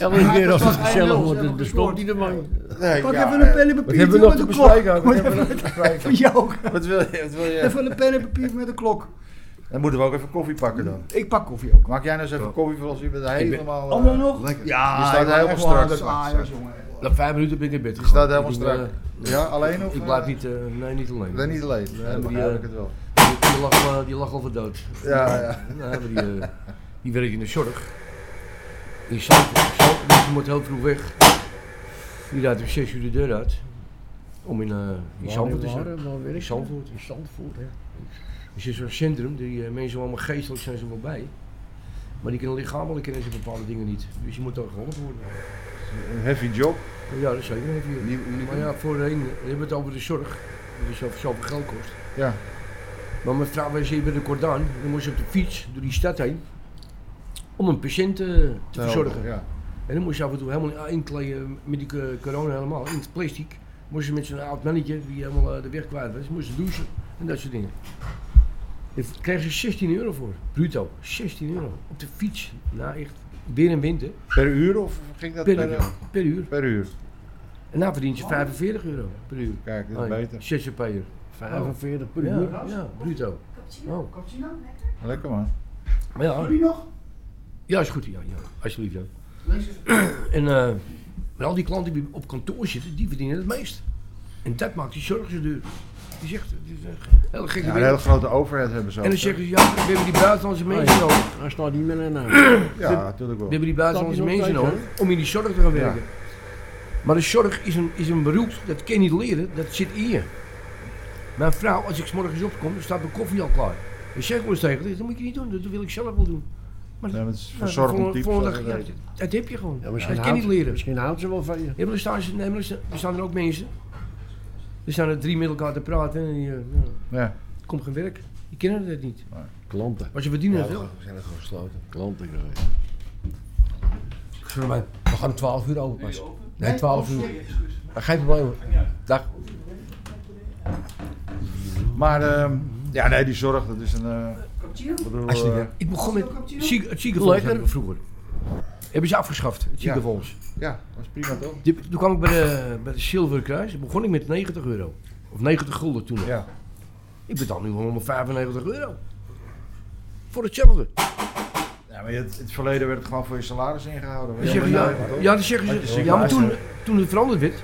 S5: Elke keer als het
S1: was 1-0,
S5: gezellig
S1: ze
S5: wordt,
S1: hebben
S5: dan
S1: gescoord.
S5: stopt hij ermee.
S2: Nee,
S1: Pak
S2: ja,
S1: even een
S2: eh,
S1: pen en
S4: Wat
S1: papier.
S4: hebben we nog
S1: doe
S4: te
S1: met de klok.
S4: bespreken? ook? Wat hebben we nog te
S1: Van jou ook.
S2: Wat wil je? Wat wil je?
S1: Even een pen en papier met de klok.
S2: Dan moeten we ook even koffie pakken dan.
S1: Ik pak koffie ook.
S2: Maak jij nou eens even koffie voor als je bent
S4: Oh,
S2: helemaal... eh,
S1: Ander nog?
S6: lekker.
S1: Ja,
S2: Je staat
S1: ik ben
S2: helemaal
S1: echt wel
S2: strak.
S1: een Ajax, jongen.
S3: Na vijf minuten ben ik in bed
S2: Je
S3: gegaan.
S2: staat helemaal
S3: Ik ben,
S2: strak. Ja, alleen of...
S3: eh, Ik
S2: eh,
S3: blijf niet, eh, nee niet alleen.
S2: Ben niet alleen. Nee, dan
S3: die,
S2: begrijp
S3: eh,
S2: ik het wel.
S3: Die, die lag, eh, die lag al voor dood.
S2: Ja, ja.
S3: Nou, hebben die, eh, die werkt in de zorg. Die zat, dus die moet heel vroeg weg. Die rijdt om 6 uur de deur uit. Om in, eh in Zandvoort te zijn. In Zandvoort.
S5: In Zandvoort, hè.
S3: Dus er is zo'n centrum, die eh, mensen allemaal geestelijk zijn ze wel bij. Maar die kunnen lichamelijk kennen ze bepaalde dingen niet. Dus je moet daar geholpen worden.
S2: Een heavy job.
S3: Ja, dat is zeker even hier. Maar ja, voorheen, we hebben het over de zorg. Dat is zoveel zoveel geld kost.
S2: Ja.
S3: Maar mijn vrouw was hier bij de Cordaan. Dan moest ze op de fiets door die stad heen. Om een patiënt eh, te verzorgen.
S2: Ja.
S3: En dan moest je af en toe helemaal ah, inkleden met die co- corona helemaal, in het plastic. Moest je met zo'n oud mannetje, die helemaal eh, de weg kwijt was, moest je douchen en dat soort dingen. Daar kreeg ze 16 euro voor, bruto. 16 euro, op de fiets. Nou echt, weer en winter,
S2: Per uur of ging dat per,
S3: per, per uur.
S2: per uur?
S3: En nou verdient je 45 euro per uur.
S2: Kijk, dat is
S3: Oh, ja.
S2: beter.
S3: ZZP'er.
S5: 45 per uur.
S3: Ja, ja, bruto.
S8: Cappuccino?
S3: Oh.
S8: Cappuccino? Lekker.
S2: Lekker man.
S3: Ja,
S1: Doe je nog?
S3: ja is goed, ja, ja. alsjeblieft. Ja.
S1: Lees eens.
S3: En eh, maar al die klanten die op kantoor zitten, die verdienen het meest. En dat maakt die zorg zo duur. Die zegt, het is een hele gekke
S2: Ja, een
S3: wereld.
S2: hele grote overheid hebben ze
S3: En
S2: ook,
S3: dan
S2: hè.
S3: zeggen ze, ja, we hebben die buitenlandse mensen nodig.
S5: Hij staat niet meer naar.
S2: Ja, natuurlijk wel.
S3: We hebben die buitenlandse
S5: Dat is
S3: mensen
S5: nog
S3: nodig
S5: steeds,
S3: om in die zorg te gaan werken. Maar de zorg is een, is een beroep, dat kan je niet leren, dat zit in je. Mijn vrouw, als ik 's morgens opkom, dan staat mijn koffie al klaar. Dan zeg ik wel eens tegen haar, dat moet je niet doen, dat wil ik zelf wel doen. Maar
S2: Nee, maar het is
S3: nou,
S2: verzorgend
S3: volgende-
S2: type. eh,
S3: volgende
S2: zoals
S3: dag-
S2: dat
S3: ja,
S2: heet.
S3: dat heb je gewoon.
S5: Ja,
S3: dat
S5: misschien,
S3: kan je
S5: houdt,
S3: niet leren.
S5: misschien houdt ze wel van je.
S3: Ja, maar er staan, ze- nee, maar er staan- er staan er ook mensen. Er staan er drie met elkaar te praten en die, eh, nou,
S2: Ja.
S3: komt geen werk. Die kennen het niet.
S5: Klanten.
S3: Maar ze verdienen het wel.
S4: we zijn er gewoon gesloten.
S5: Klanten.
S4: Sorry, maar we gaan om 12 uur open pas. Nee, oh, 12 uur. Geen probleem. Dag.
S2: Maar, ehm, ja, nee, die zorg, dat is een. eh,
S1: Cappuccino?
S2: bedoel,
S4: Alsjeblieft,
S2: eh,
S3: Ik begon met
S1: Cappuccino?
S3: zieke- het ziekenfonds
S5: Lekker.
S3: hadden we vroeger. Hebben ze afgeschaft, het
S2: Ja.
S3: ziekenfonds.
S2: ja, dat is prima toch?
S3: Die- Toen kwam ik bij de, bij de Zilveren Kruis, begon ik met 90 euro. Of 90 gulden toen nog.
S2: Ja.
S3: Ik betaal nu 195 euro. Voor hetzelfde.
S2: Ja, maar in het, in het verleden werd het gewoon voor je salaris ingehouden.
S3: Dan zeggen ze,
S2: maar
S3: ja,
S2: nou, toch?
S3: ja, dan zeggen
S2: Had
S3: ze,
S2: je
S3: ja, maar toen,
S2: ziekenhuis,
S3: toen het veranderd werd,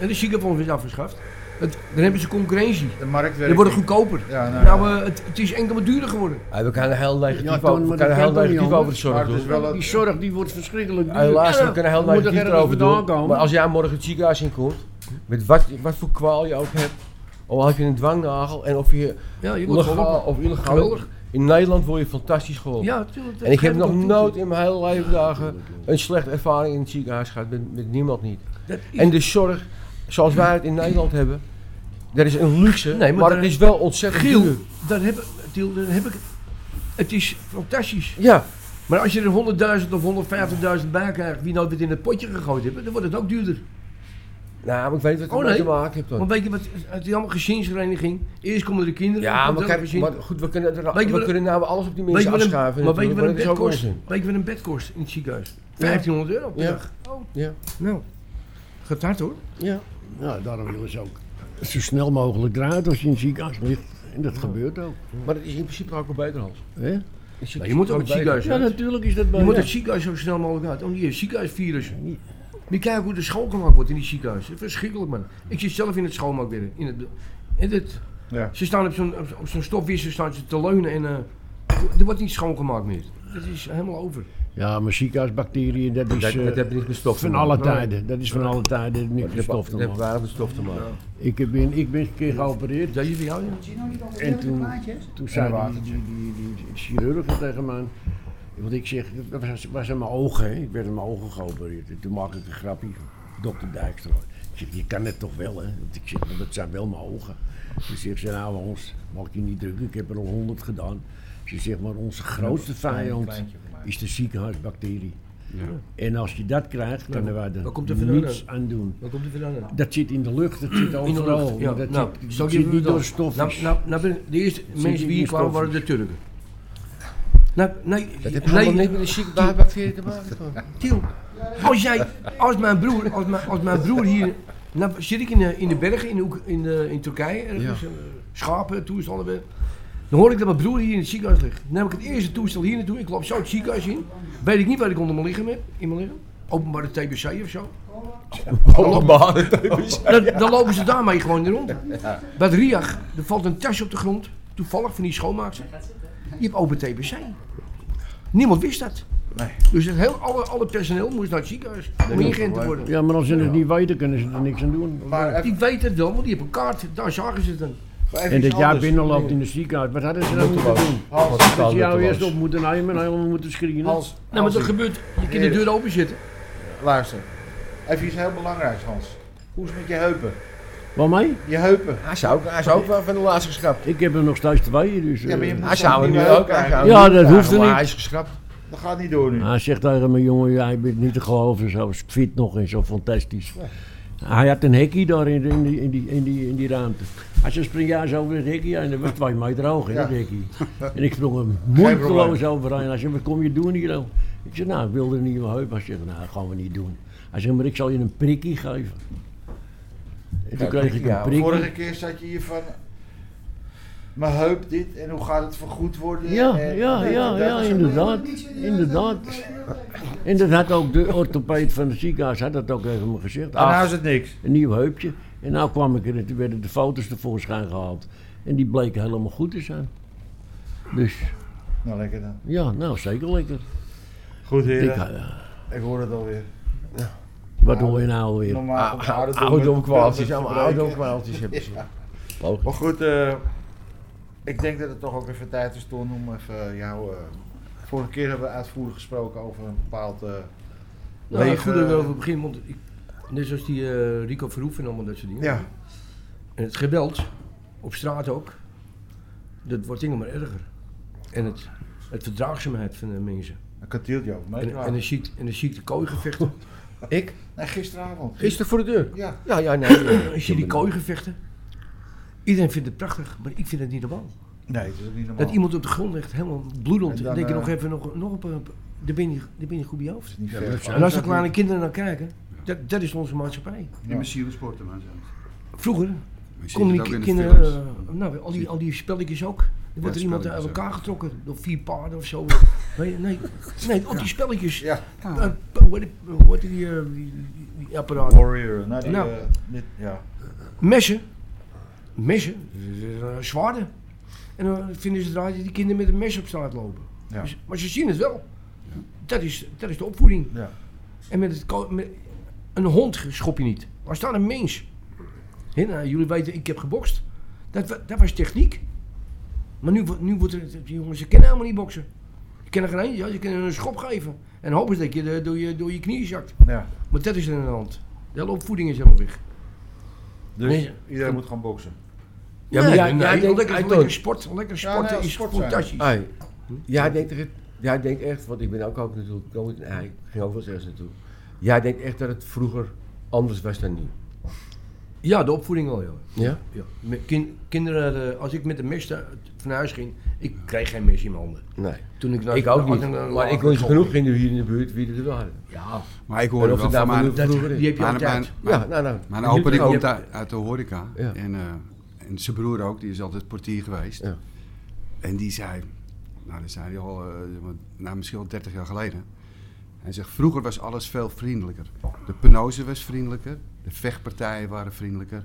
S3: en de ziekenfonds werd afgeschaft, het, dan hebben ze concurrentie.
S2: De markt
S3: Dan
S2: werkt
S3: wordt het
S2: niet.
S3: goedkoper.
S2: Ja, nou,
S3: Nou, eh, het, het is enkel maar duurder geworden.
S4: Hey, we kunnen heel negatief,
S5: Ja, Toon,
S4: over, we
S5: maar dat kan
S4: kunnen heel
S5: toch niet
S4: negatief
S5: anders?
S4: over de
S2: maar
S4: zorg
S2: het
S4: doen.
S2: is wel
S5: Die
S2: het.
S5: zorg die wordt verschrikkelijk duur.
S4: Helaas, we kunnen heel
S5: moet er
S4: negatief
S5: ergens
S4: erover
S5: vandaan
S4: doen.
S5: komen.
S4: Maar als jij morgen het ziekenhuis inkomt, met wat, wat voor kwaal je ook hebt, of heb je een dwangnagel en of je
S3: Ja, je wordt
S4: legaal
S3: geholpen.
S4: of illegaal,
S3: Geweldig.
S4: in Nederland word je fantastisch geholpen.
S3: Ja, tuurlijk, dat
S4: En ik heb
S3: geeft
S4: nog
S3: ook toe.
S4: nooit in mijn hele leven dagen een slechte ervaring in het ziekenhuis gehad, met, met niemand niet.
S3: Dat is-
S4: En de zorg, zoals wij het in Nederland hebben, dat is een luxe,
S3: Nee,
S4: maar,
S3: maar
S4: het
S3: daar-
S4: is wel ontzettend duur.
S3: Giel, dan heb, ik- Giel, dan heb ik... Het is fantastisch.
S4: Ja,
S3: Maar als je er 100.000 of 150.000 bij krijgt, wie nou dit in het potje gegooid hebben, dan wordt het ook duurder.
S4: nou, maar ik weet wat het
S3: Oh,
S4: ermee
S3: nee.
S4: te maken heeft dan.
S3: Want weet je wat, het is allemaal gezinsvereniging. Eerst komen de kinderen.
S4: Ja,
S3: dan
S4: maar,
S3: komt er
S4: kijk,
S3: een
S4: maar
S3: gezin.
S4: goed, we kunnen, er-
S3: Weet je
S4: we
S3: wat-
S4: kunnen nou alles op die
S3: weet je
S4: mensen
S3: wat een-
S4: afschuiven.
S3: maar weet je wat een
S4: natuurlijk,
S3: bed
S4: dat is
S3: kost?
S4: ook onzin.
S3: Weet je wat een bed kost in het ziekenhuis? 1500 euro per
S4: Ja.
S3: dag. Oh,
S4: Ja,
S3: nou. Gaat hard hoor.
S4: ja.
S5: Ja, daarom willen ze ook zo snel mogelijk eruit als je in het ziekenhuis ligt. En dat gebeurt ook.
S4: Maar dat is in principe ook wel beter, Hans.
S5: Hè?
S4: In
S3: Ja,
S4: principe
S3: je moet ook
S4: wel
S3: het
S4: beter.
S3: ziekenhuis
S5: Ja,
S3: uit.
S5: natuurlijk is dat bij
S3: Je moet
S5: Oh, ja.
S3: het ziekenhuis zo snel mogelijk uit. Om die ziekenhuisvirus. Moet je kijken hoe de schoongemaakt wordt in die ziekenhuizen. Verschrikkelijk man. Ik zit zelf in het schoonmaakwerk. In het, in het,
S2: Ja.
S3: Ze staan op zo'n, op, op zo'n stofwisser staan ze te leunen en eh, er wordt niet schoongemaakt meer. Het is helemaal over.
S5: Ja, maar ziekenhuisbacteriën, dat is
S4: Dat,
S5: eh,
S4: dat heeft niks met stof te
S5: van
S4: maken.
S5: alle
S4: Nee.
S5: tijden. Dat is van alle tijden niks
S4: Dat
S5: met
S4: heeft-
S5: stof te
S4: Dat heeft
S5: maken.
S4: weinig met stof te maken.
S5: Ik heb ben, ik ben een keer geopereerd.
S3: Dat jullie jou, ja?
S1: Cappuccino niet altijd
S5: En
S1: lekker
S5: toen-
S1: plaatjes?
S5: Toen zei die,
S2: watertje.
S5: die, die, die chirurgen tegen mij, want ik zeg, dat was, was aan mijn ogen, hè. ik werd aan mijn ogen geopereerd. En toen maakte ik een grapje, dokter Dijkstra. Ik zeg, je kan het toch wel, hè? Want ik zeg, "Want dat zijn wel mijn ogen. Ze zegt ze, nou Hans, mag je niet drukken, ik heb er al honderd gedaan. Ze zegt, maar onze grootste vijand is de ziekenhuisbacterie. En als je dat krijgt, kunnen wij
S3: waar
S5: er
S3: komt het vandaan
S5: niets aan doen.
S3: Waar komt die vandaan? dan?
S5: Dat zit in de lucht, dat zit
S3: In de lucht,
S5: overal.
S3: ja.
S5: maar Dat
S3: Nou,
S5: zit,
S3: zal ik
S5: dat zit
S3: even
S5: niet
S3: door-
S5: door stof.
S3: Nou, nou, nou ben ik- de eerste mensen
S5: in
S3: die
S5: die
S3: hier kwamen waren de
S5: stofjes.
S3: Turken. Nou, nee,
S4: Dat heeft
S3: nee,
S4: helemaal niks met de ziekenhuisbacteriën te maken. Toon.
S3: Til, als jij, als mijn broer, als mijn, als mijn broer hier, nou zit ik in de, in de bergen in, de Oek- in, de, in Turkije, ergens, eh, schapen, toestanden, weer. dan hoor ik dat mijn broer hier in het ziekenhuis ligt. Dan neem ik het eerste toestel hier naartoe, ik loop zo het ziekenhuis in, weet ik niet waar ik onder mijn lichaam heb, in mijn lichaam, openbare TBC of zo. Dan, dan lopen ze daarmee gewoon in rond. Bij de Riach, er valt een tasje op de grond, toevallig van die schoonmaakster. Die heeft open TBC. Niemand wist dat. Dus het heel, alle, alle personeel moest naar het ziekenhuis om ingeënt te worden.
S5: Ja, maar als ze het niet weten, kunnen ze er niks aan doen.
S2: Maar even,
S3: Die weten het wel, want die hebben een kaart, daar zagen ze het
S4: Nou,
S3: dan.
S2: even
S5: En
S2: iets
S5: dat jij
S2: anders.
S5: binnenloopt in de ziekenhuis, wat hadden ze dan moeten doen?
S2: Hans,
S5: Dat ze jou
S4: Nutteloos.
S5: eerst op moeten nemen en helemaal moeten screenen?
S2: Hans,
S3: Nee, Nou, maar dat
S2: Hansie,
S3: gebeurt, je kan de deur open zitten.
S2: luister. Even iets heel belangrijks, Hans. Hoe is het met je heupen?
S5: Waarmee?
S2: Je heupen.
S4: Hij is ook, hij is ook wel van de laatste geschrapt.
S5: Ik heb er nog steeds twee, dus...
S2: Ja, maar je
S5: eh,
S2: moet
S4: Hij
S2: zo'n
S4: zou er
S2: nieuwe
S4: nu
S2: heup
S4: ook hij
S2: krijgen.
S4: zou
S5: Ja,
S4: hem nu
S5: dat
S4: vragen,
S5: hoeft er
S4: maar
S5: niet.
S4: Hij is geschrapt.
S2: Dat gaat niet door nu.
S5: Hij zegt tegen me, jongen, jij bent niet te geloven, zo fit nog en zo fantastisch. Hij had een hekje daar in, die- in, die, in, die, in, die, in die ruimte. Hij zei, spring jij eens over het hekje en dat was twee meter hoog, hè,
S2: Ja.
S5: dat hekje. En ik sprong hem moeiteloos
S2: probleem.
S5: overheen. Hij zei, wat kom je doen hier dan? Ik zei, nou, ik wilde niet in mijn heup. Hij zei, nou, dat gaan we niet doen. Hij zei, maar ik zal je een prikkie geven. En toen kreeg ik
S4: ja,
S5: een prikkie.
S2: Vorige keer zat je hier van mijn heup dit en hoe gaat het vergoed worden?
S5: Ja,
S2: en-
S5: ja,
S2: en
S5: ja,
S2: dat
S5: ja,
S2: is-
S5: inderdaad. Inderdaad. En dat had ook de orthopeed van het ziekenhuis had dat ook tegen me gezegd.
S3: Ah,
S2: En nou
S5: Ach,
S2: is het niks.
S5: een nieuw heupje. En nou kwam ik er en toen werden de foto's tevoorschijn gehaald. En die bleken helemaal goed te zijn. Dus
S2: Nou, lekker dan.
S5: ja, nou zeker lekker.
S2: Goed,
S5: Ik,
S2: heren.
S5: eh,
S2: Ik hoor het alweer.
S5: wat hoor je nou weer?
S3: Ah,
S2: Normaal
S4: Oudomkwaaltjes, allemaal
S2: oude
S4: oudomkwaaltjes hebben ze.
S2: Maar goed, eh, ik denk dat het toch ook even tijd is, Ton, om even jou... eh, vorige keer hebben we uitvoerig gesproken over een bepaald... eh,
S3: Nou,
S2: Leeg,
S3: goed dat we
S2: eh,
S3: over beginnen, want ik, net zoals die eh, Rico Verhoeven en allemaal dat soort dingen.
S2: ja,
S3: En het geweld, op straat ook, dat wordt dingen maar erger. En het, het verdraagzaamheid van de mensen.
S2: een katieltje over
S3: En, en,
S2: meepraten.
S3: een ziek, en een ziekte kooigevechten.
S4: Ik?
S2: Nee, gisteravond.
S4: Gisteren voor de deur?
S2: Ja.
S4: Ja, ja, nee.
S3: Als je die kooigevechten, iedereen vindt het prachtig, maar ik vind het niet normaal.
S4: Oh.
S2: Nee, dat is ook niet normaal.
S3: Dat iemand op de grond ligt, helemaal bloedend.
S2: En
S3: En
S2: dan,
S3: dan denk je
S2: eh,
S3: nog even, nog, nog op een, daar ben je, daar ben je goed bij je hoofd.
S2: Niet ver van.
S3: En als de kleine kinderen naar kijken, dat, dat is onze maatschappij.
S2: Ja.
S6: In mijn sporten maar zo.
S3: Vroeger
S6: We zien
S3: konden
S6: het ook
S3: die
S6: in de
S3: kinderen,
S6: films.
S3: eh, nou, al die, al die spelletjes ook. Er wordt er iemand eh, uit
S6: spelletjes
S3: elkaar getrokken door vier paarden of zo. Nee, nee, nee al die spelletjes.
S2: Ja.
S3: Eh, p- Hoe heet die- hoe heet die, eh, die, die- die apparaten?
S2: Warrior. Nou, die,
S3: Nou.
S2: eh, dit, ja.
S3: Messen. Messen. Eh, Zwaarden. En dan vinden ze het raar dat die kinderen met een mes op straat lopen.
S2: Ja.
S3: Dus- maar ze zien het wel. Dat, is, dat is de opvoeding.
S2: Ja.
S3: En met, het, ko- met een hond schop je niet. Waar staat een mens? Hè, nou, jullie weten, ik heb gebokst. Dat, wa- dat was techniek. Maar nu, wo- nu wordt het, die jongens, ze kennen helemaal niet boksen. Ze kennen geen eens, ja, ze kunnen een schop geven. En hopen dat je de- door je, door je knieën zakt.
S2: ja.
S3: Maar dat is er aan de hand. De hele opvoeding is helemaal weg.
S2: Dus
S3: Nee.
S2: iedereen moet gaan boksen.
S3: Ja,
S4: Nee,
S3: maar ja,
S4: nee,
S3: ja, Ah.
S4: ik denk-
S3: lekker,
S4: ik
S3: lekker
S4: denk-
S3: sport, lekker
S2: Ja,
S3: sporten
S2: nee,
S3: is
S2: sport zijn.
S3: fantastisch.
S4: Ai. Jij denkt echt, jij denkt echt, want ik ben ook, ook natuurlijk nooit een ei, ging ook wel eens ergens naartoe. Jij denkt echt dat het vroeger anders was dan nu.
S3: Ja, de opvoeding wel, ja.
S4: Ja?
S3: ja. Met kin- kinderen, hadden- als ik met de mes daar van huis ging, ik kreeg geen mes in mijn handen.
S4: Nee.
S3: Toen ik, naar
S4: Nou, ik ook
S6: Nou,
S3: naar-
S4: niet.
S3: naar-
S4: Maar ik wist genoeg in de, hier in de buurt wie er wel hadden.
S3: Ja,
S6: Maar ik
S4: En
S6: hoorde
S4: of
S6: wel
S4: het
S6: van
S4: daarvan
S6: mijn,
S4: nu vroeger
S3: die
S4: is.
S3: heb je
S6: Maar-
S3: altijd.
S6: maar-
S4: Ja, nou, nou.
S6: mijn opa die
S4: Ook.
S6: komt uit, uit de horeca.
S4: Ja.
S6: En, eh, en zijn broer ook, die is altijd portier geweest.
S4: Ja.
S6: En die zei, nou dat zei hij al, eh, nou, misschien al 30 jaar geleden. Hij zegt, vroeger was alles veel vriendelijker. De penose was vriendelijker, de vechtpartijen waren vriendelijker.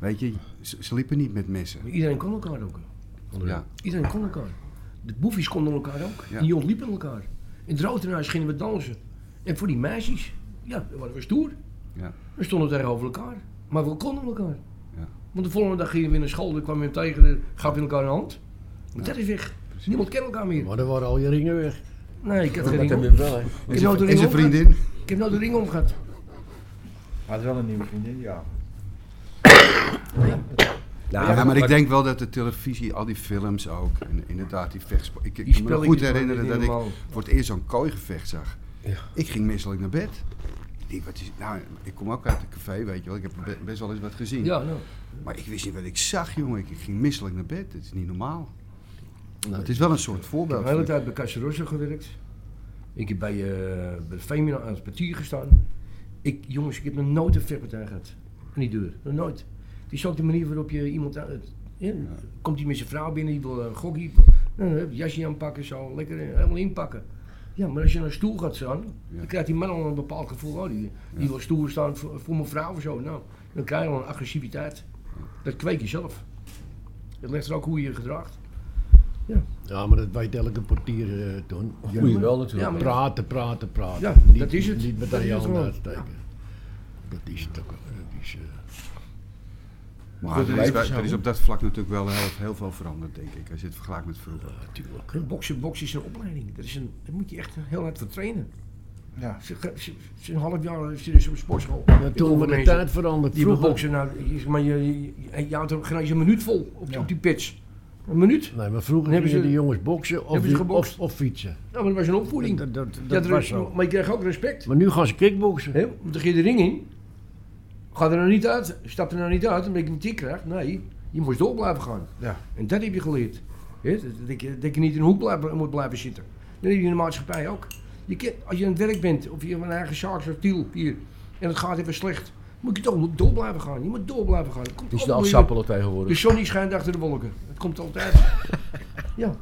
S6: Weet je, ze, ze liepen niet met messen.
S3: Iedereen kon elkaar ook.
S6: Ja.
S3: Iedereen kon elkaar. De boefies konden elkaar ook.
S6: Ja.
S3: Die ontliepen elkaar. In het Rotenhuis gingen we dansen. En voor die meisjes, ja, dat waren we stoer.
S6: Ja.
S3: We stonden tegenover elkaar. Maar we konden elkaar.
S6: Ja.
S3: Want de volgende dag gingen we weer naar school, dan kwamen we hem tegen, dan gaf je elkaar een hand. Maar dat is weg. Niemand kent elkaar meer.
S5: Maar dan waren al je ringen weg.
S3: Nee, ik heb geen
S4: Dat
S3: ring
S4: heb
S3: om.
S4: je wel, hè.
S3: Ik heb nooit een
S6: En
S3: ring
S6: zijn
S3: omgehad.
S6: vriendin.
S3: Ik heb nooit een ring omgehad.
S2: Hij had wel een nieuwe vriendin, ja.
S4: Nou,
S6: Ja, maar ik denk wel dat de televisie, al die films ook, en inderdaad die vechtsport. Ik, ik
S3: Die
S6: kan me nog goed
S3: spelletjes waren
S6: herinneren
S3: niet
S6: dat ik
S3: helemaal.
S6: voor het eerst zo'n kooigevecht zag. Ik ging misselijk naar bed. Ik denk, wat is, nou, ik kom ook uit een café, weet je wel. Ik heb be- best wel eens wat gezien.
S3: Ja, nou.
S6: Maar ik wist niet wat ik zag, jongen. Ik, ik ging misselijk naar bed. Dat is niet normaal. Maar het is wel een soort
S3: Ik heb
S6: voorbeeld.
S3: de hele tijd bij Casarossa gewerkt. Ik heb bij, eh bij Femina aan het portier gestaan. Ik, jongens, ik heb nog nooit een vechtpartij gehad. Aan die deur. Nog nooit. Het is ook de manier waarop je iemand... aan- het- ja, Komt die met zijn vrouw binnen, die wil een gokkie. Nou, dan heb je jasje aanpakken, zo. Lekker eh, helemaal inpakken. Ja, maar als je aan een stoel gaat staan, dan krijgt die man al een bepaald gevoel. Oh, die, die wil stoel staan voor, voor mijn vrouw of zo. Nou, dan krijg je al een agressiviteit. Dat kweek je zelf. Het ligt er ook hoe je je gedraagt.
S5: Ja, maar dat weet elke portier eh toen.
S4: moet je wel natuurlijk.
S3: Ja, maar-
S5: Praten, praten, praten.
S3: Ja,
S5: niet,
S3: dat is het.
S5: Niet meteen
S3: Dat is
S5: je
S3: het
S5: handen
S3: gewoon.
S5: uitsteken. Dat is het ook. wel. Dat is, eh,
S6: Maar er is,
S4: blijft
S6: wel-
S4: zo.
S6: er is op dat vlak natuurlijk wel heel, heel veel veranderd, denk ik. Als je het vergelijkt met vroeger.
S3: Boksen, boksen is een opleiding. Dat is een, daar moet je echt heel hard voor trainen.
S2: Ja.
S3: Ze, ze, ze, ze- een half jaar zitten dus op sportschool.
S5: ja,
S3: Ik
S5: toen
S3: hoor
S5: we de
S3: mensen
S5: tijd veranderd.
S3: Die hebben
S5: Vroeger-
S3: boksen, nou, je- maar je, je, je, je houdt er geen eens een minuut vol op, op die pitch. Een minuut?
S5: Nee, maar vroeger
S3: Hebben
S5: hebben
S3: ze-
S5: de jongens boksen of,
S3: hebben ze
S5: die-
S3: gebokst?
S5: of, of fietsen.
S3: Nou, maar dat was een opvoeding.
S5: Dat, dat, dat
S3: Ja, er-
S5: was zo.
S3: Maar je kreeg ook respect.
S5: Maar nu gaan ze kickboksen.
S3: Hè? Want dan ging je de ring in. Ga er nou niet uit. Stap er nou niet uit omdat je een tik krijgt. Nee, je moest door blijven gaan.
S2: Ja.
S3: En dat heb je geleerd. Hè? Dat, dat je, dat je niet in een hoek blijven- moet blijven zitten. Dat heb je in de maatschappij ook. Je kan- als je aan het werk bent, of je hebt een eigen zaak zoals Tiel hier, en het gaat even slecht, Moet je toch door blijven gaan. Je moet door blijven gaan. Het komt
S4: Het
S3: altijd
S4: is nou
S3: weer-
S4: sappelen
S3: de
S4: tegenwoordig.
S3: Johnny schijnt achter de wolken. Het komt altijd. ja.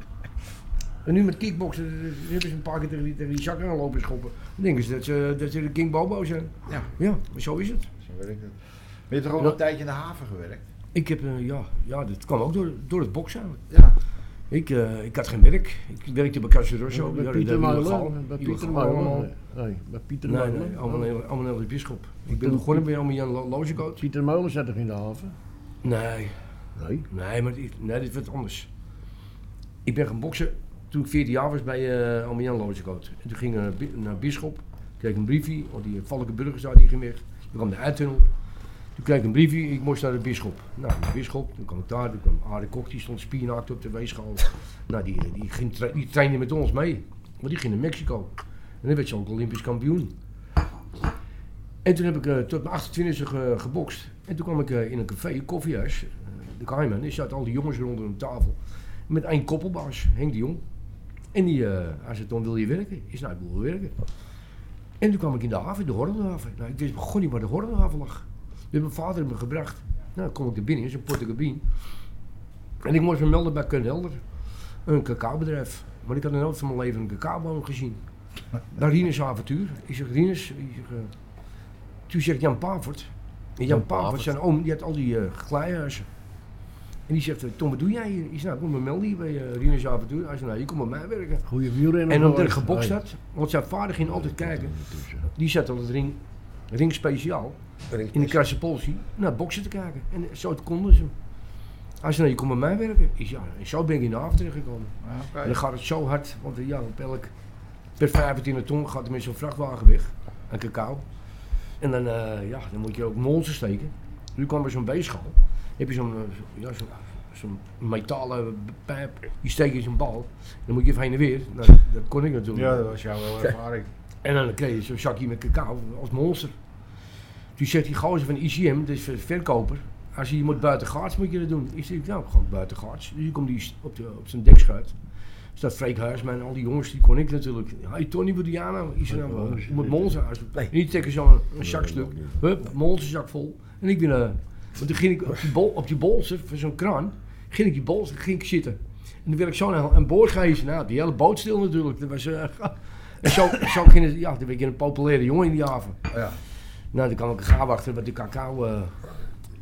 S3: En nu met kickboksen eh, hebben ze een paar keer tegen die, tegen die zakken aan lopen schoppen. Dan denken ze dat ze, dat ze de King Bobo zijn.
S2: Ja.
S3: Ja, maar zo is het.
S2: Zo werkt het. Maar je hebt toch ook nog een tijdje in de haven gewerkt?
S3: Ik heb, eh, ja, ja, dat kwam ook door, door het boksen eigenlijk.
S2: Ja.
S3: Ik, eh, ik had geen werk. Ik werkte bij Casa Rosso.
S5: bij
S3: Ja,
S5: Pieter
S3: dat- dat-
S5: Meulen. Bij
S3: illegaal
S5: Pieter
S3: allemaal.
S5: Meulen. Nee, bij Pieter
S3: Nee, nee,
S5: Meulen.
S3: allemaal allemaal de bisschop. Ik ben begonnen bij allemaal Jan Lo- Logecoat.
S5: Pieter Meulen zat toch in de haven?
S3: Nee,
S5: Nee.
S3: Nee, maar dit, nee, dit werd anders. Ik ben gaan boksen toen ik 14 jaar was bij eh Almian Lozekoot. En toen ging ik naar, Bi- naar Bisschop, kreeg een briefje, want die Valkenburg is daar, die ging weg. Toen kwam de uittunnel. Toen kreeg ik een briefje, ik moest naar de Bisschop. Nou, naar de Bisschop, toen kwam ik daar, toen kwam Arie Kok, die stond spiernaakt op de weegschaal. Nou, die, die, ging tra- die trainde met ons mee, want die ging naar Mexico. En dan werd ze ook Olympisch kampioen. En toen heb ik eh, tot mijn 28 e gebokst. En toen kwam ik eh, in een café, een koffiehuis, eh, de Kaiman. Er zaten al die jongens rondom een tafel. Met één koppelbaas, Henk de Jong. En die, eh, hij zei, Tom, wil je werken? Is nou, ik wil wel werken. En toen kwam ik in de haven, de Hornhaven. Nou, ik wist begon niet waar de Hornhaven lag. Dus mijn vader heeft me gebracht. Nou, dan kom ik er binnen, in zo'n portugabine. En ik moest me melden bij Kun Helder. Een cacaobedrijf. Maar ik had nog nooit van mijn leven een cacaoboom gezien. Naar Rinus avontuur. Ik zeg, Rinus, ik zeg, eh, toen zegt Jan Pavert. En Jan,
S4: Jan
S3: Pavert,
S4: Pavert.
S3: zijn oom, die had al die eh glijhuizen. En die zegt, eh, Tom, wat doe jij hier? Ik zeg, nou, ik moet me melden hier bij eh, Rinus avontuur. Hij zegt, nou, je komt met mij werken.
S5: Goeie wielrenner.
S3: En omdat
S5: geworden.
S3: ik gebokst
S5: Nee.
S3: had, want zijn vader ging altijd kijken. Die zat al het ring, ring speciaal in de Krasnopolski naar boksen te kijken. En zo konden ze hem. Hij zei, nou, je komt met mij werken. Ik zei, ja, en zo ben ik in de haven terechtgekomen.
S2: Ja, oké.
S3: En dan gaat het zo hard, want eh, ja, op elk, per 25 ton gaat er met zo'n vrachtwagen weg. Aan cacao. En dan, eh, ja, dan moet je ook monsters steken. Nu kwam er zo'n beeschal. Heb je zo'n eh, ja, zo'n zo'n metalen pijp, die steek je in zo'n bal. Dan moet je even heen en weer. Nou, dat kon ik natuurlijk.
S2: Ja, dat was jouw eh, ervaring. Oh
S3: En dan kreeg je zo'n zakje met cacao als monster. Toen zegt die gozer van ICM, dus de verkoper, als je, je moet buitengaards moet je dat doen. Ik zeg, nou, gewoon buitengaards. Dus ik kom die op, de, op zijn dek schuit. Staat Freek Huisman en al die jongens, die kon ik natuurlijk. Hey Tony, wat doe jij nou? Ik zeg, nou, eh, je moet monster uit. En die trekken zo'n een zakstuk. Hup, monsterzak vol. En ik ben, eh, want toen ging ik op die, bol, op die bolster van zo'n kraan, ging ik die bolster, ging ik zitten. En toen werd ik zo aan, aan boord gehezen. Nou, die hele boot stil natuurlijk. Dat was, eh, en zo, zo ging het, ja, toen ben ik een populaire jongen in die haven.
S2: Ja.
S3: Nou, dan kan ik gaan wachten wat de cacao eh,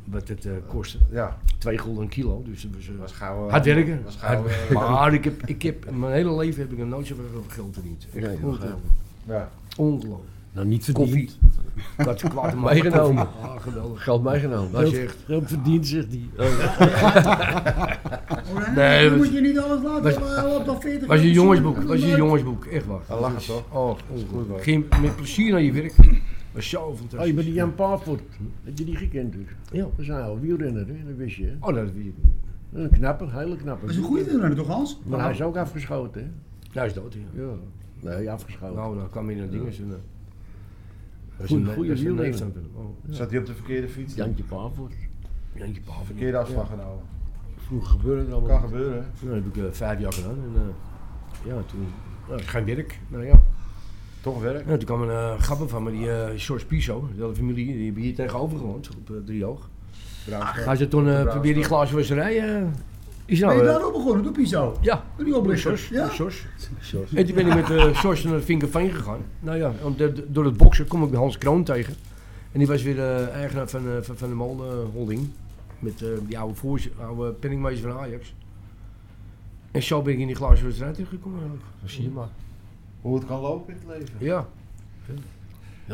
S3: wat het eh, kostte.
S2: Ja,
S3: Twee gulden een kilo, dus dat was... eh,
S2: was gauw... eh,
S3: Hard werken.
S2: Was gauw... eh,
S3: maar ik heb, ik heb, mijn hele leven heb ik nog nooit zoveel geld verdiend. Echt
S5: Nee,
S3: ongelooflijk.
S2: ja.
S3: Ongelooflijk.
S5: Nou, niet verdiend.
S3: Koffie. Ik had kwaad
S4: Meegenomen.
S3: Ah, geweldig.
S4: Geld meegenomen.
S3: Dat is
S4: Heel-
S3: echt...
S5: Geld verdiend, zegt hij.
S1: Oh,
S3: Nee,
S1: dan
S3: dat-
S1: moet je niet alles laten
S3: dat-
S1: eh, op dat 40
S3: Was je
S1: jaar
S3: jongensboek,
S1: zoeken.
S3: was je jongensboek, echt waar.
S2: Dat lachen toch?
S3: Oh,
S2: goed, hoor.
S3: ongelooflijk. Ging met plezier naar je werk. Was zo fantastisch.
S5: Oh, je bent die Jan Paapvoort. Heb je die gekend dus?
S3: Ja.
S5: Dat is een oude wielrenner, hè? dat wist je. hè?
S3: Oh, dat weet ik.
S5: Een knappe, hele knappe.
S1: Dat is een goede wielrenner toch, Hans?
S5: Maar hij is ook afgeschoten, hè?
S3: Nou, is dood, ja.
S5: Ja. Nee, afgeschoten.
S3: Nou, dan kwam weer naar dingen. en, eh, Dat is
S5: Goeie-
S3: een-
S5: goeie
S3: dat is een
S5: wielrenner.
S3: neefstandpunt. Oh,
S2: Zat hij op de verkeerde fiets?
S5: eh, Jantje Paapvoort.
S3: Jantje Pavel.
S2: Verkeerde afslag genomen.
S4: Vroeger gebeurde het allemaal.
S2: Kan gebeuren.
S3: Nou, dat heb ik eh, vijf jaar gedaan. En, eh, ja, toen... Nou, geen werk. Nou ja.
S2: Toch werk.
S3: Nou, toen kwam een eh grappen van me, die eh George Piso, de hele familie, die hebben hier tegenover gewoond, op eh, Driehoog.
S2: Braaf.
S3: Hij zei toen, eh, probeer die glazenwasserij. eh is nou,
S1: Ben je
S3: eh,
S1: daarop begonnen, door Piso?
S3: ja,
S1: Met die oplichter?
S3: Sjors,
S1: Ja?
S3: Sjors. En toen ben ik met eh Sjors naar Vinkerveen gegaan. Nou ja, om de- door het boksen kom ik Hans Kroon tegen. En die was weer eh, eigenaar van, eh, van, van de Molen eh, Holding. Met eh, die oude, voorzi- oude penningmeester van Ajax. En zo ben ik in die glazen wedstrijd terechtgekomen. eigenlijk.
S4: Zie je maar.
S2: Hoe het kan lopen in het leven.
S3: Ja,
S5: Nou,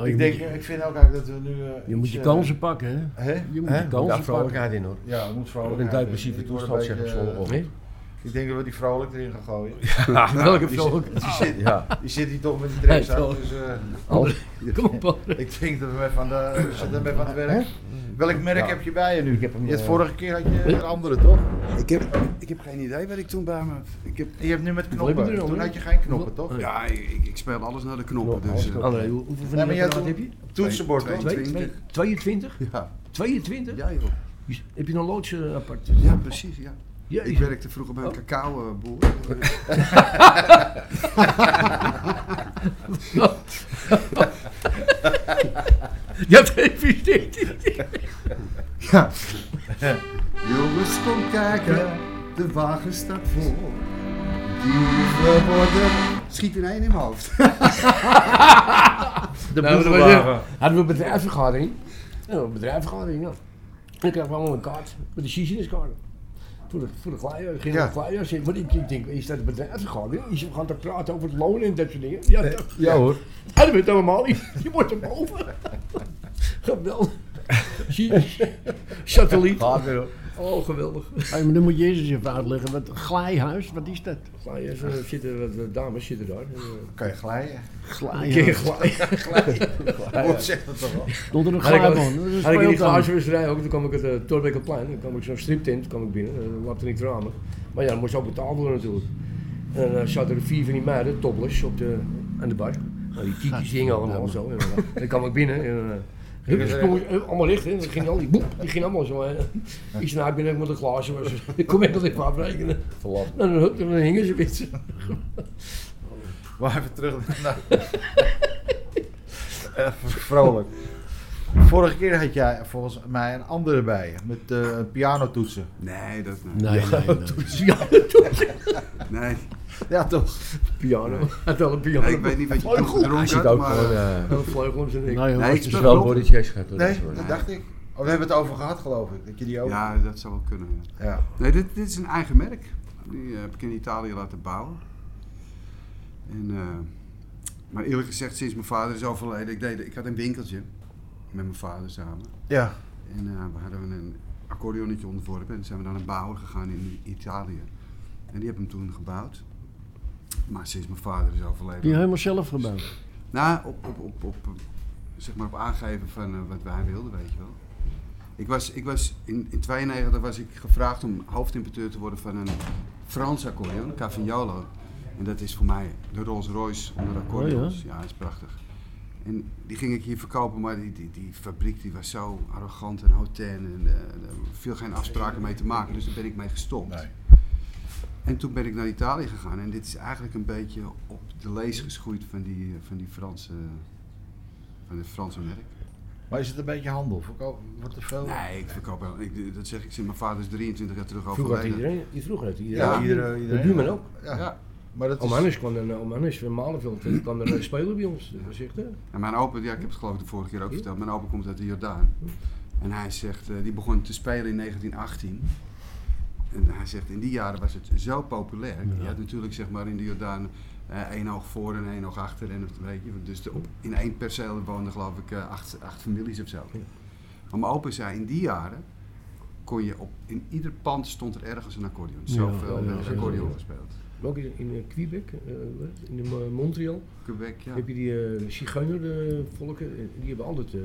S5: je
S2: Ik,
S5: moet
S2: denk,
S5: je,
S2: eh, ik vind ook eigenlijk dat we nu... eh,
S5: je moet
S2: iets,
S5: je
S2: eh,
S5: kansen pakken, hè?
S2: Hè?
S5: Je moet
S2: Hè?
S5: je
S4: Daar
S5: kansen pakken.
S4: vrolijkheid in hoor.
S2: Ja, we moeten
S4: Wat
S2: vrolijk
S4: een
S2: zijn.
S4: duiplicieve
S2: Ik word een
S4: toestand
S2: beetje,
S4: zeggen sommigen.
S2: eh,
S4: ook.
S3: nee?
S2: Ik denk dat we die vrolijk erin gaan gooien.
S3: welke
S2: die
S3: vrouw ook.
S2: Die zit,
S4: Ja.
S2: die zit hier toch met die dress
S3: Hij is
S2: aan,
S3: wel-
S2: dus eh,
S3: Kom op, Paul.
S2: ik denk dat we van de, we zitten even aan het werk. Welk merk heb je bij je nu?
S4: Ik heb hem,
S2: Je had
S4: eh,
S2: vorige keer had je een andere, toch?
S6: Ik heb, ik heb geen idee wat ik toen bij me... Ik heb,
S2: Je hebt nu met
S3: Wil je
S2: knoppen.
S3: er
S2: Toen
S3: nog
S2: had je geen knoppen, toch?
S3: Nee.
S6: ja, ik, ik- ik speel alles naar de knoppen. Dus, eh,
S3: André, hoe- hoeveel van
S2: Nee,
S3: die
S2: maar jij
S3: apparaten heb
S2: hebt
S3: je?
S2: een toetsenbord,
S6: Twee-
S2: toch?
S6: twee-
S3: 22? 22?
S6: ja,
S3: 22?
S6: ja, joh.
S3: Heb je een loods eh, apart?
S6: ja, precies. Ja. Ik
S3: Jezus.
S6: werkte vroeger bij een
S3: Oh.
S6: cacaoboer.
S3: Ja, dat investeert hij.
S6: Ja. Jongens, kom kijken, de wagen staat vol. Die worden... Schiet in één in mijn hoofd.
S2: De
S3: Nou, dat was-
S2: boedelwagen.
S3: Hadden we een bedrijfsvergadering. Ja, een bedrijfsvergadering, ja. En dan kregen we allemaal een kaart. Met de Sicinuskaart. Voor de, voor de kleier. Ging
S6: Ja.
S3: de kleier zitten. Want ik, ik denk, is dat een bedrijfsvergadering? Is we gaan te praten over het loon en dat soort dingen.
S6: Eh,
S3: Ja, dat,
S2: Ja hoor.
S3: hadden we het allemaal niet. Je wordt er boven. geweldig. Zie- Satelliet. Oh, geweldig.
S5: Hey, maar dan moet je eerst eens even uitleggen, wat glijhuis, wat is dat?
S3: Gleiers, eh, zitten, wat- wat dames zitten daar. En, eh,
S2: Kan je glijden?
S3: Een keer
S5: Glijhuis.
S3: glijden.
S2: Wat zegt dat toch wel?
S5: Stond er een
S3: Had ik ook-
S5: glijbaan? Dat is
S3: Had ik in die
S5: speeltuin.
S3: glazenwisserij ook, toen kwam ik het uh, Torbekkenplein, dan kwam ik zo'n striptent kwam ik binnen, dan lapte ik ramen. Maar ja, dat moest ook betaald worden natuurlijk. En dan eh, zaten er vier van die meiden, topless, op de, aan de bar. Nou, die kiekjes hingen allemaal zo. En, eh, dan kwam ik binnen en... eh, hup,
S2: Gingen ze
S3: sprong- hup, eh, allemaal licht, hè. Dan ging al die boep, die ging allemaal zo. hè. Ik zei, nou, ik ben ook met een glazen was. Ik kom echt wel even afrekenen.
S4: Verlaten.
S3: En dan, hup, dan hingen ze weer.
S2: Maar even terug naar... even vrolijk. Vorige keer had jij volgens mij een andere bij je, met piano pianotoetsen.
S6: Nee, dat niet.
S5: Nee, nee, nee.
S6: Nee,
S2: Ja toch?
S3: Piano. Had wel een piano.
S6: Nee, ik weet Nou. niet wat je toen
S3: Vleugel.
S4: Oh,
S6: gedronken
S4: Hij zit
S6: had,
S4: ook
S6: maar...
S4: gewoon...
S6: eh,
S4: eh,
S3: Een vleugel om zijn nek.
S5: Nee,
S6: Nee,
S5: hoor.
S6: ik
S4: Het is
S6: speel
S4: wel een
S6: erop.
S4: body chess gaat door
S2: Nee,
S4: deze man.
S2: dat dacht ik. Oh, we hebben het over gehad geloof ik, dat je die ook...
S6: Ja, dat zou wel kunnen. ja.
S2: ja.
S6: Nee, dit, dit is een eigen merk. Die eh, heb ik in Italië laten bouwen. En, eh, maar eerlijk gezegd, sinds mijn vader is overleden, ik, deed, ik had een winkeltje met mijn vader samen.
S2: Ja.
S6: En eh, we hadden een accordeonnetje ontworpen en zijn we naar een bouwer gegaan in Italië. En die hebben hem toen gebouwd. Maar sinds mijn vader is overleden.
S5: Die helemaal zelf gebouwd.
S6: Nou, op, op, op, op, eh, zeg maar op aangeven van eh, wat wij wilden, weet je wel. Ik was, ik was in, in 92 was ik gevraagd om hoofdimporteur te worden van een Frans accordeon, een Cavignolo. En dat is voor mij de Rolls Royce onder accordeons. ja. dat is prachtig. En die ging ik hier verkopen, maar die, die, die fabriek die was zo arrogant en hotel en eh, er viel geen afspraken mee te maken, dus daar ben ik mee gestopt.
S2: Nee.
S6: En toen ben ik naar Italië gegaan en dit is eigenlijk een beetje op de lees geschoeid van die, eh, van die Franse, van het Franse merk.
S2: Maar is het een beetje handel? Verkoop, wordt er veel?
S6: Nee, ik verkoop wel. Ik, dat zeg ik sinds mijn vader is 23 jaar terug
S3: Vroeger had
S6: overleden.
S3: iedereen, vroeger had iedereen.
S2: Ja, iedereen. iedereen.
S3: De buurman ook. Oh,
S2: Ja.
S6: Ja.
S2: Maar dat
S3: Om
S2: is...
S3: Hannes kwam dan, om Hannes van Malenveld, die kwam dan spelen bij ons. eh, Dat was echt, hè?
S6: En mijn opa, ja, ik heb het geloof ik de vorige keer ook verteld, mijn opa komt uit de Jordaan. En hij zegt, eh, die begon te spelen in 1918. En hij zegt, in die jaren was het zo populair. Je had natuurlijk zeg maar in de Jordaan eh, één oog voor en één oog achter. En het, weet je, dus de- op, in één perceel woonden geloof ik eh, acht, acht families of zo. Maar mijn opa zei, in die jaren kon je op, in ieder pand stond er ergens een accordeon. Zoveel
S3: ja,
S6: werd
S3: ja,
S6: er accordeon
S3: ja.
S6: gespeeld.
S3: Maar ook in, in eh, Quebec, eh, wat? in eh, Montreal,
S6: Quebec, ja.
S3: heb je die eh zigeunervolken, eh, die hebben altijd eh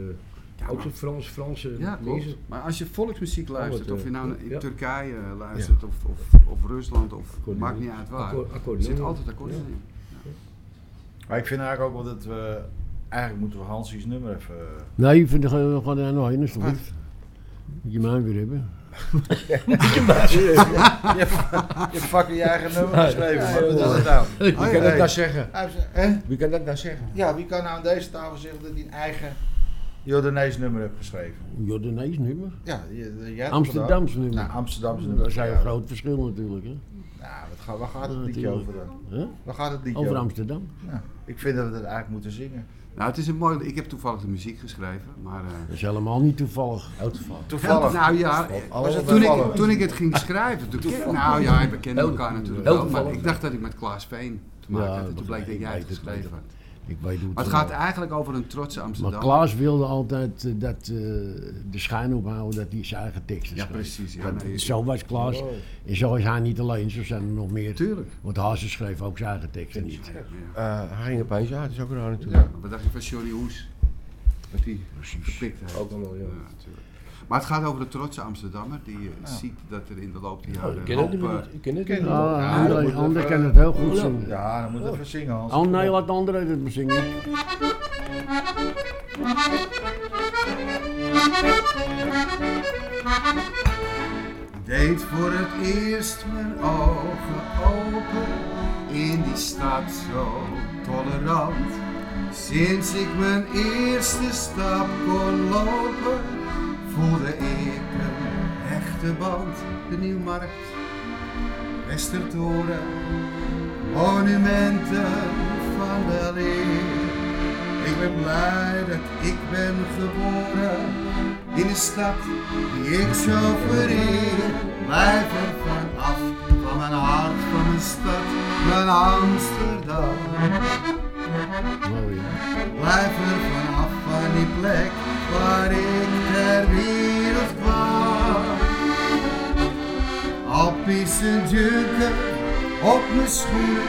S6: Ja,
S3: ook
S6: maar-
S3: zo'n Frans, Franse
S6: Ja, klopt.
S3: mensen.
S6: Maar als je volksmuziek luistert,
S3: Oh, wat,
S6: of je
S3: eh,
S6: nou in
S3: ja.
S6: Turkije eh, luistert, of, of, of Rusland, of
S3: Accordeon.
S6: maakt niet uit waar,
S3: Accor-
S6: er
S3: accordeon.
S6: zit altijd akkoord
S3: Ja.
S6: in.
S2: Maar ik vind eigenlijk ook wel dat we... Eigenlijk moeten we Hansie's nummer even...
S5: Nee, ik vind het gewoon gewoon aan de heen, alsjeblieft. Moet je mij weer hebben.
S2: Je hebt fucking je eigen nummer geschreven. man. Wat is het nou?
S4: Wie
S2: Oh,
S4: kan
S2: ja.
S4: dat nou zeggen?
S2: Hij heeft- hè?
S4: Wie kan dat nou zeggen?
S2: Ja, wie kan nou aan deze tafel zeggen dat hij een eigen Jordanees nummer heeft geschreven?
S5: Jordanees nummer.
S2: Ja, je- jij hebt het
S5: Amsterdams
S2: gedaan.
S5: nummer.
S2: Nou, Amsterdamse nummer.
S5: Dat is een
S2: ja.
S5: groot verschil natuurlijk. Hè?
S2: Nou, wat gaat, waar gaat
S5: Ja,
S2: het liedje
S5: natuurlijk.
S2: over dan?
S5: Hè?
S2: Waar gaat het liedje
S5: Over
S2: over?
S5: Amsterdam.
S2: Ik vind dat we dat eigenlijk moeten zingen.
S6: Nou, het is een mooi, ik heb toevallig de muziek geschreven, maar... eh,
S5: Dat is helemaal niet toevallig.
S2: Toevallig.
S6: Nou ja, eh,
S2: Alles
S6: toen
S2: toevallig.
S6: ik, toen ik het ging schrijven, toen ken- nou ja, we kennen elkaar natuurlijk
S3: heel
S6: wel, maar
S3: toevallig.
S6: ik dacht dat ik met Klaas Veen te maken
S5: Ja,
S6: had en
S5: dat
S6: toen bleek
S5: weet
S6: dat
S5: ik,
S6: jij het
S5: weet het,
S6: geschreven
S5: weet
S6: had.
S5: Ik weet hoe
S6: Maar het
S5: wel.
S6: gaat eigenlijk over een trotse
S5: Maar
S6: Amsterdam.
S5: Klaas wilde altijd eh, dat, eh, de schijn ophouden dat hij zijn eigen teksten
S6: Ja,
S5: schreef.
S6: precies. Ja,
S5: Dat-
S6: nee,
S5: zo was Klaas.
S3: Oh.
S5: En zo is hij niet alleen, zo zijn er nog meer.
S6: Tuurlijk.
S5: Want Hazen schreef ook zijn eigen teksten niet.
S4: Eh, hij ging opeens, ja, dat is ook raar natuurlijk.
S6: Ja, wat dacht je van Johnny Hoes? Wat die gepikt heeft.
S3: Ook allemaal, ja.
S6: Ja, natuurlijk. Maar het gaat over de trotse Amsterdammer die eh, ziet dat er in de loop der jaren
S3: Ik ken
S6: een
S3: het
S6: hoop,
S3: niet
S6: eh,
S3: meer, ik ken het niet
S2: ken
S3: meer.
S2: het.
S5: Ah,
S2: Ja, dat
S5: André,
S2: moet
S5: André
S2: even-
S5: kan het heel goed
S3: Ja.
S5: zingen.
S2: Ja, dan moet je even zingen, Hans.
S5: Oh nee, laat André het maar zingen.
S6: deed voor het eerst mijn ogen open in die stad zo tolerant. Sinds ik mijn eerste stap kon lopen, voelde ik Waterband, de Nieuwmarkt, Westertoren, monumenten van de leer. Ik ben blij dat ik ben geboren in een stad die ik zo vereer. Blijf er van af, van mijn hart, van mijn stad, mijn Amsterdam. Blijf er vanaf van die plek waar ik ter wereld kwam. Al pissend jurken op mijn schoenen,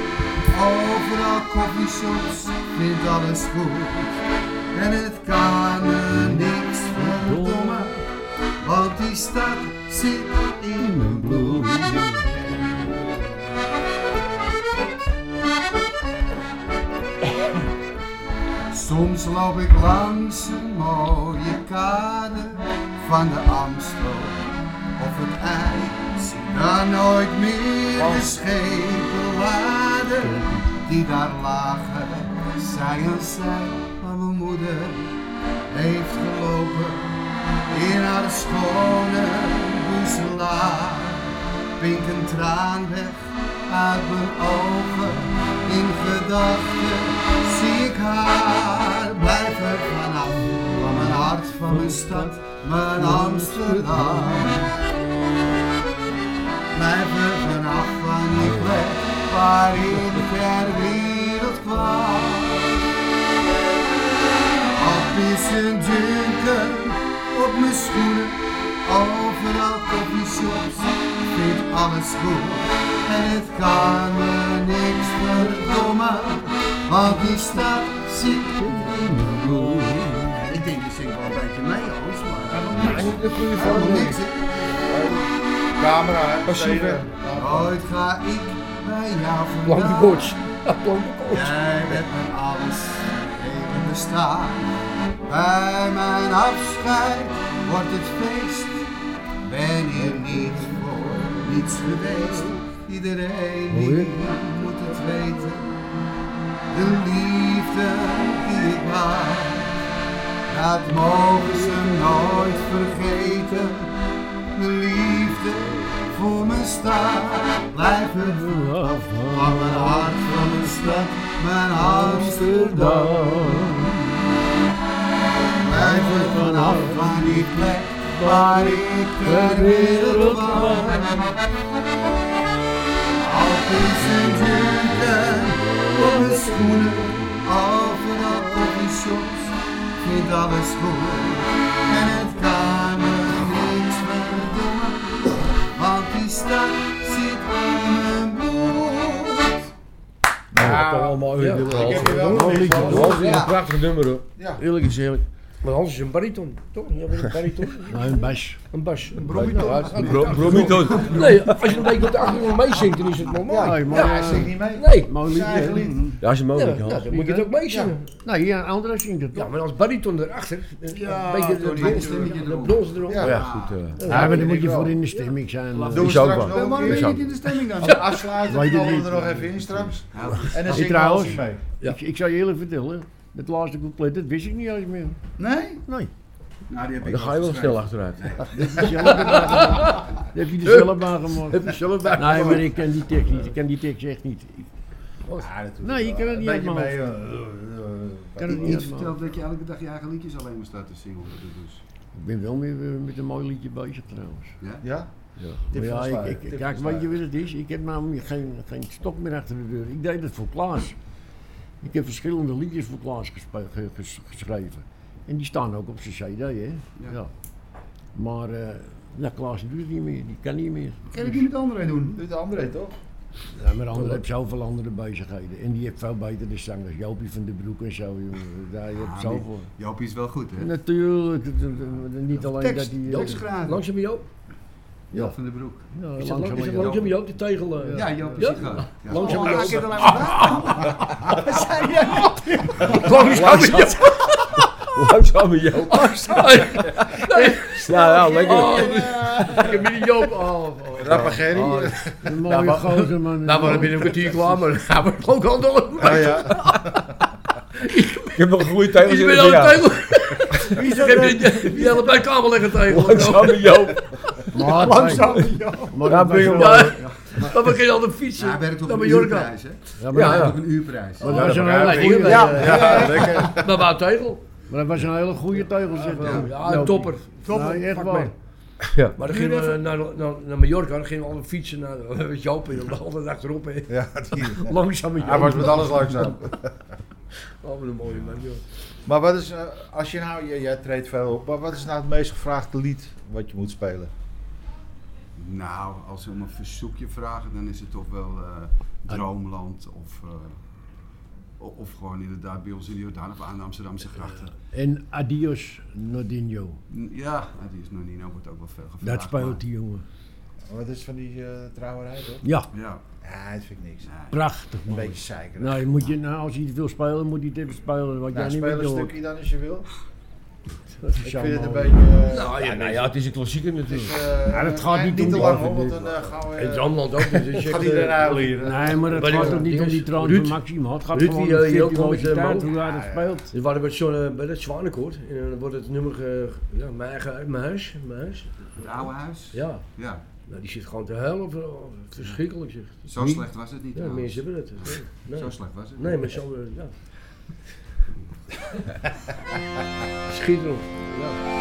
S6: overal koffieshops vindt alles goed. En het kan me niks verdommen, want die stad zit in mijn bloed. Soms loop ik langs een mooie kade van de Amstel of het ei. Zie dan nooit meer de schepen laden die daar lagen. Zij en zij, maar mijn moeder heeft gelopen in haar schone boezelaar. Pink een traan weg uit mijn ogen. In gedachten zie ik haar. Blijf er vanaf, van mijn hart, van mijn stad, mijn Amsterdam. Blijf er vanaf van die plek waar ik ter wereld kwam. Al pissen dunker op mijn schoenen, overal koffieshops, vindt alles goed. En het kan me niks verdommen, want die stad zit in mijn bloed. Ik denk, je zingt wel een beetje mee, Hans, maar
S4: Maar niet een goede
S6: helemaal
S4: voorbeeld.
S6: niks, hè.
S2: Camera, hè?
S4: Passieve.
S6: Ooit ga ik bij jou
S3: Blanke
S6: vandaan.
S3: koorts. Ja, blanke koorts.
S6: Jij bent mijn alles, even bestaan. Bij mijn afscheid wordt het feest. Ben hier niet voor niets geweest. Iedereen die moet het weten. De liefde die ik had, dat mogen ze nooit vergeten. De liefde voor mijn staat blijft het van mijn hart, van mijn stad, mijn Amsterdam. Blijf er vanaf van die plek waar ik ter wereld kwam. Al zijn jurken op mijn schoenen, overal op die shops, vindt alles goed. En het kan me niks verdommen, want die stad zit in mijn bloed.
S4: Ja, toch wel mooi.
S3: Ja,
S4: dit wel.
S2: ik heb hier wel een
S4: Mooi liedje.
S2: liedje.
S4: Mooi liedje,
S6: Ja.
S4: Een prachtig nummer hoor.
S3: Eerlijk is eerlijk. Maar Hans is een bariton, toch? Ja, een bariton.
S5: Nou, een bas.
S3: Een bas. Een
S6: bromiton.
S4: Bro- Bromito.
S3: Nee, als je een beetje op de achtergrond meezingt, dan is het normaal.
S5: Ja, maar,
S2: Ja, hij zingt niet mee.
S3: Nee.
S5: Mooi
S2: Zijn eigen
S5: liedje.
S2: lied.
S4: Ja, is een mooi
S3: Ja,
S4: liedje.
S3: nou,
S4: Hans.
S3: dan moet je het ook meezingen.
S5: Nou, hier, André zingt het
S3: Ja,
S5: toch?
S3: maar als bariton erachter, eh, een
S1: Ja,
S3: beetje
S1: door
S3: de
S1: die
S3: brons
S1: stemmetje
S3: erop, de
S1: erop.
S3: brons erop.
S2: Ja.
S4: Maar Ja, goed. eh,
S5: Ja, maar dan moet je
S2: Ja.
S5: voor in de stemming zijn. eh.
S2: Doen we
S4: Is ook
S2: straks
S4: wel.
S2: nog
S1: Maar
S2: een
S1: waarom ben
S2: keer.
S1: je niet in de stemming dan?
S2: Afsluiten, dan
S5: Weet je
S2: komen we
S5: niet.
S2: er nog even in straks. En dan
S5: Hey,
S2: zingen we
S5: trouwens.
S2: alles mee.
S3: Ja.
S5: Ik, ik zal je eerlijk vertellen, dat laatste couplet, dat wist ik niet eens meer.
S1: Nee?
S5: Nee.
S6: Nou, die heb ik
S4: Dan ga je wel snel achteruit.
S5: Dat heb je er zelf aan gemaakt.
S4: Heb je zelf bij.
S5: Nee, maar ik ken die tekst niet. Ik ken die tekst echt niet. Ik
S2: Ja, dat doet
S5: Nee, je
S2: wel.
S5: kan het
S2: Een
S5: niet uit
S2: beetje mee.
S5: mijn
S2: eh,
S5: kan het
S6: Ik
S5: niet
S6: iets
S5: helemaal.
S6: verteld dat je elke dag je eigen liedjes alleen maar staat te zingen. Dus.
S5: Ik ben wel meer eh, met een mooi liedje bezig trouwens.
S2: eh, Ja?
S5: Maar ja,
S2: van Schuijer,
S5: ik,
S2: tip van
S5: ik, kijk, weet je wat het is? Ik heb namelijk geen, geen stok meer achter de deur. Ik deed het voor Klaas. Ik heb verschillende liedjes voor Klaas gespe- ge- ges- geschreven. En die staan ook op zijn cd, hè? Ja. Maar eh nou, Klaas doet het niet meer. Die kan niet meer.
S1: Kan ik niet met anderen doen?
S2: Doet André toch?
S5: Ja, maar anderen hebben zoveel andere bezigheden. En die heeft veel betere zangers. Jopie van den Broek en zo, jongen. Daar heb je
S6: Ah,
S5: zoveel.
S6: Jopie is wel goed, hè?
S5: Natuurlijk, d- d- d- niet alleen
S1: Tekst,
S5: dat die...
S1: tekst graag.
S3: Langzaam Joop.
S6: Joop van den Broek.
S5: Ja,
S3: Is dat lang- is dat
S5: langzamerhand.
S3: langzaam Joop, die tegel? eh,
S1: Ja, Joop is
S3: Ja?
S1: het gewoon. Ja.
S3: Langzaam
S1: Oh,
S3: Joop.
S1: ga ik het alleen maar vragen? Wat zei jij?
S4: Langzaam Joop. Langzaam Joop. Nou ja, lekker.
S3: Oh, ik heb hier die Joop. Oh, oh.
S2: Rappagerry.
S3: Oh,
S2: Ja,
S5: Een mooie
S3: maar-
S5: gozer, man.
S3: Nou, maar dan ben ik een kwartier klaar, maar dan wordt het ook al door.
S2: ja.
S4: Ik heb nog een goede tijd.
S3: Je bent al een tegel.
S1: Wie
S3: Ik
S1: zat
S3: heb
S1: er?
S3: je- je hebt bij kabel leggen tegel.
S4: Langzaam Joop.
S5: Maar,
S1: Langzaam,
S5: maar-
S1: joh.
S5: maar
S4: Ja,
S5: dat was
S4: ben je
S5: wel-
S3: Ja, dan begin je al te fietsen.
S6: Ja, hij werkt op
S3: naar
S6: een
S3: Mallorca.
S6: uurprijs, hè?
S5: Ja, Oh, maar
S6: Ja,
S5: dat-
S6: op een uurprijs.
S5: maar
S2: Ja,
S5: dat was
S2: dat
S5: een
S2: begrijp
S5: hele
S2: ik.
S5: goeie.
S1: Ja.
S2: Ja, lekker.
S3: Naar Wouwtegel.
S5: Maar dat was een hele goede teugel, zeg
S3: Ja,
S5: dan.
S3: ja,
S5: Nou,
S3: een Ah, topper.
S5: Nou, echt
S3: Pak
S5: waar.
S3: mee. Maar dan gingen we naar, naar, naar Mallorca, dan gingen we altijd fietsen naar Joop en dan altijd achterop. hè.
S2: Ja, die-
S3: Langzaam
S2: Hij was
S3: Joop.
S2: met alles langzaam.
S3: Oh, wat een mooie man, joh.
S2: Maar wat is, eh, als je nou, jij, jij treedt veel op, maar wat is nou het meest gevraagde lied wat je moet spelen?
S6: Nou, als ze om een verzoekje vragen, dan is het toch wel eh, Droomland of, eh, o- of gewoon inderdaad bij ons in de Jordaan of aan de Amsterdamse grachten.
S5: En adios, Nordinho.
S6: N- Ja, nou, die is Nonino wordt ook wel veel gevraagd.
S5: Dat speelt
S6: maar-
S5: die jongen.
S2: Wat is van die eh trouwerij, toch?
S5: Ja,
S6: Ja,
S2: Ja, dat vind ik niks.
S6: nee.
S5: prachtig
S2: Een
S5: mooi.
S2: beetje zeiker.
S5: Nou, je moet je, nou, als je iets wil spelen, moet je het even spelen.
S2: nou,
S5: Wat jij niet
S2: speel
S5: meer
S2: een
S5: hoort.
S2: stukje dan als je wil.
S5: Dat is
S2: Ik
S5: jammer.
S2: vind het een beetje... eh,
S3: Nou ja,
S4: Nou ja, het is een klassieker natuurlijk.
S5: Hmm. Ja, dat gaat niet
S2: Dus, niet
S5: doen,
S2: te
S5: hoor,
S2: lang, hoor, want
S5: vind
S2: dan eh, gaan we...
S3: in Droomland ook. Dus is
S2: gaat
S3: echt,
S2: iedereen
S3: eh,
S2: huilen hier. hè?
S5: Nee,
S3: Wat
S5: maar het
S3: is
S5: gaat
S3: het?
S5: toch niet om
S3: Dinges?
S5: die trant
S3: Ruud?
S5: van Maxime. Het gaat
S3: Ruud,
S5: gewoon
S3: die,
S5: om
S3: eh, hier ook nog met, eh,
S5: virtuositeit,
S3: Mo?
S5: hoe hij dat speelt.
S3: We waren bij, zo'n, eh, bij dat Zwanenkoord en dan wordt het nummer, eh, ja, mijn eigen mijn huis, mijn huis.
S6: Het oude huis?
S3: Ja,
S6: Ja,
S3: nou, die zit gewoon te huilen, of, eh, of- verschrikkelijk zeg.
S6: zo
S3: Niet-
S6: slecht was het niet.
S3: Ja,
S2: Nou.
S6: trouwens.
S3: mensen hebben het. Nee, nee.
S6: Zo slecht was het.
S3: Nee, maar zo, eh, ja. Schitterend. Ja.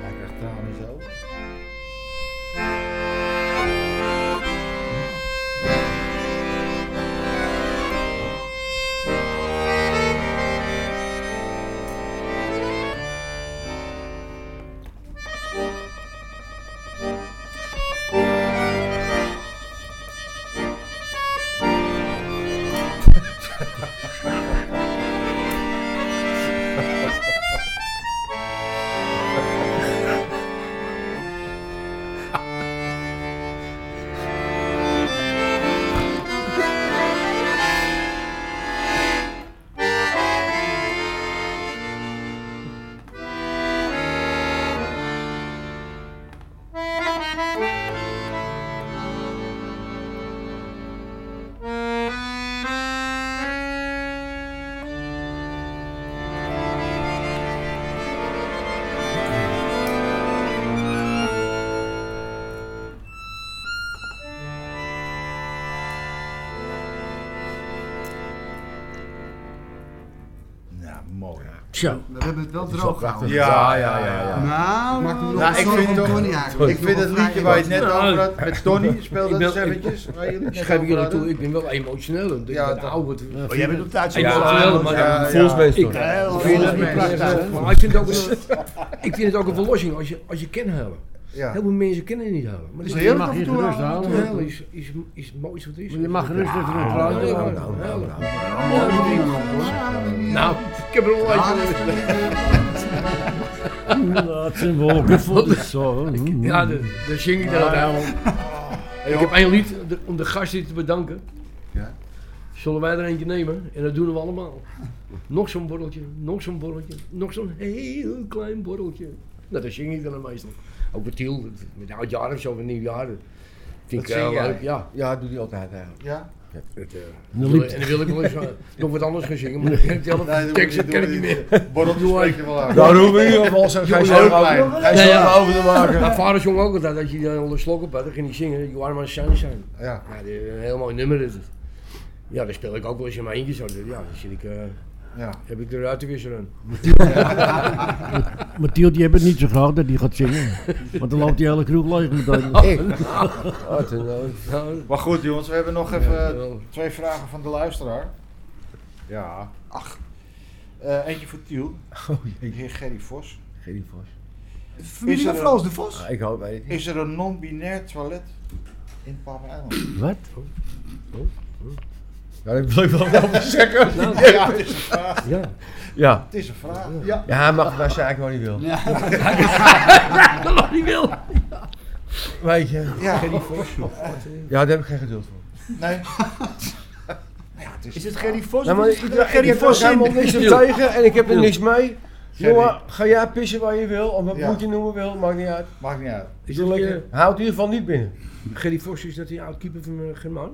S2: Hij krijgt tranen zo. Nou, mooi.
S5: Zo.
S6: We hebben het wel
S2: is
S6: droog
S2: wel
S6: gehouden.
S2: Ja, ja, ja, ja.
S6: Nou, maakt me
S2: Nou,
S6: nog
S2: ik
S6: zorgen
S2: vind
S6: om
S2: toch-
S6: Tony eigenlijk.
S2: Ik vind het liedje waar je het net
S3: Nou,
S2: over had, met Donny, speel dat
S3: ben-
S2: eens eventjes. waar jullie het net
S3: Schrijf ik
S2: over
S3: jullie
S2: hadden.
S3: toe, ik ben wel emotioneel. Ik denk,
S2: Ja,
S3: dat
S2: dat-
S3: oude, wat-
S1: Oh, jij bent op tijd zo
S3: Ja,
S1: laat.
S3: wel, maar-
S2: Ja, eh, ja.
S4: Volgens mij toch.
S1: Heel
S3: vind
S1: goed.
S3: het
S2: mee.
S1: Prachtig.
S3: Maar ik vind, het ook een, ik vind het ook een verlossing als je, als je kan huilen.
S2: Ja.
S3: Heel veel mensen kennen niet huilen. Maar
S1: Is
S3: dit-
S1: het heerlijk
S5: mag
S1: af en
S5: Dus je
S1: toe
S5: gerust
S1: aan?
S5: halen.
S3: huilen is, is, is het mooiste wat er is.
S5: Je mag rustig even een
S3: Ja,
S5: traantje
S3: ja,
S5: laten.
S3: ja.
S1: Mooi ding, hoor.
S3: Nou, ik heb er al
S6: Ja,
S3: een
S6: dat is-
S5: Dat zijn wolken vol de zon. Mm.
S3: Ja, dat dat zing ik dan altijd. Ik heb één lied de- om de gasten te bedanken.
S6: Ja.
S3: Zullen wij er eentje nemen? En dat doen we allemaal. Nog zo'n borreltje, nog zo'n borreltje, nog zo'n heel klein borreltje. Nou, dat zing ik dan meestal. Ook met Tiel, met oudjaar of zo, met nieuwjaar. Dat Vind
S2: Dat
S3: ik eh, wel
S2: zing jij?
S3: leuk, ja.
S4: Ja, dat doet hij altijd eigenlijk.
S2: Ja?
S3: En dan wil ik nog eens eh, nog wat anders gaan zingen, maar dan kan ik zelf
S2: Nee,
S3: de
S2: doe
S3: tekst
S2: maar
S3: ken ik
S2: doe
S3: niet
S2: maar
S3: meer.
S2: niet. Borreltje
S3: Doe Nou, maar.
S2: spreek je wel aan.
S4: Daar hoeven we in ieder geval zo- geen
S2: Jongen,
S4: zorgen
S2: ook
S4: over-
S2: maar.
S4: geen
S3: Ja, ja.
S4: zorgen over te maken.
S3: Mijn vader zong ook altijd dat je dan onder slok op had, dan ging hij zingen, You are my sunshine.
S2: Ja.
S3: Ja, dit is een heel mooi nummer is het. Ja, daar speel ik ook wel eens in mijn eentje zo. Ja, dan zit ik, eh,
S2: Ja.
S3: heb ik eruit te wisselen.
S5: Mathilde, je hebt het niet zo graag dat hij gaat zingen. Want dan loopt die hele kroeg leeg meteen.
S3: Oh,
S4: Wat een nood.
S3: Nou,
S2: Maar goed jongens, we hebben nog
S3: ja,
S2: even
S3: wel.
S2: twee vragen van de luisteraar. Ja. Ach. Eh, eentje voor Tiel.
S4: Oh,
S2: De heer Gerry Vos.
S4: Geen vos.
S1: Familie
S2: Is er
S1: van
S2: een-
S1: Frans de Vos.
S4: Ah, Ik hoop het niet.
S2: Is er een non-binair toilet
S9: in Palm Island.
S5: Wat?
S4: Oh, Ja, dat wil ik wel over zeggen.
S10: Ja, het is een vraag.
S5: Ja.
S4: Nou, Ja.
S10: Het is een vraag.
S4: Ja, hij mag het nou zaken wat hij wil.
S3: Dat mag niet wil.
S4: Weet je.
S9: Ja,
S4: Ja, daar heb ik geen geduld voor.
S9: nee.
S1: Is het Gerry Vos?
S4: Ja,
S1: of
S4: Nou, maar
S1: is
S4: ik,
S1: het
S4: ik, ik
S1: Gerry
S4: heb
S1: Vos
S4: er helemaal
S1: in?
S4: niks op tegen en ik heb er
S3: Ja.
S4: niks mee. Jongen, ga jij pissen waar je wil, of wat
S9: Ja.
S4: moet je noemen wil, maakt niet uit.
S9: Maakt niet uit.
S3: Is
S4: Doe
S3: dat
S4: lekker.
S3: lekker?
S4: Houd in ieder geval niet binnen.
S3: Gerry Vos, is dat die oud-keeper van eh, Germaan?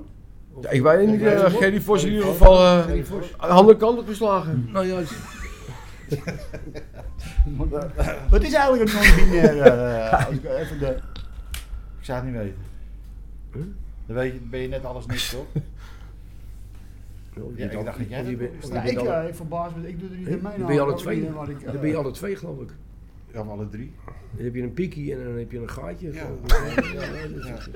S4: Ja, ik weet het niet,
S3: Ik weet
S4: eh,
S3: het niet.
S4: Gerry Vos in ieder geval eh,
S3: Gerry Vos.
S4: aan de kant op geslagen.
S3: Nou ja,
S9: Wat is eigenlijk een non-binair? eh, als ik even de...
S2: Ik zou het niet weten. Dan weet je, ben je net alles niks, toch? Ja, ik dacht dat jij
S3: Je
S2: dat
S3: bent-
S2: was.
S1: Ja,
S3: je
S1: ik
S3: bent alle-
S1: eh, verbaas me, ik doe er niet
S3: Hè?
S1: in mijn
S3: Dan ben je alle
S1: hand, ook
S3: twee.
S1: niet in wat ik, eh,
S3: dan ben je alle twee geloof ik.
S2: Ja, maar alle drie.
S3: Dan heb je een piekie en dan heb je een gaatje. geloof ik.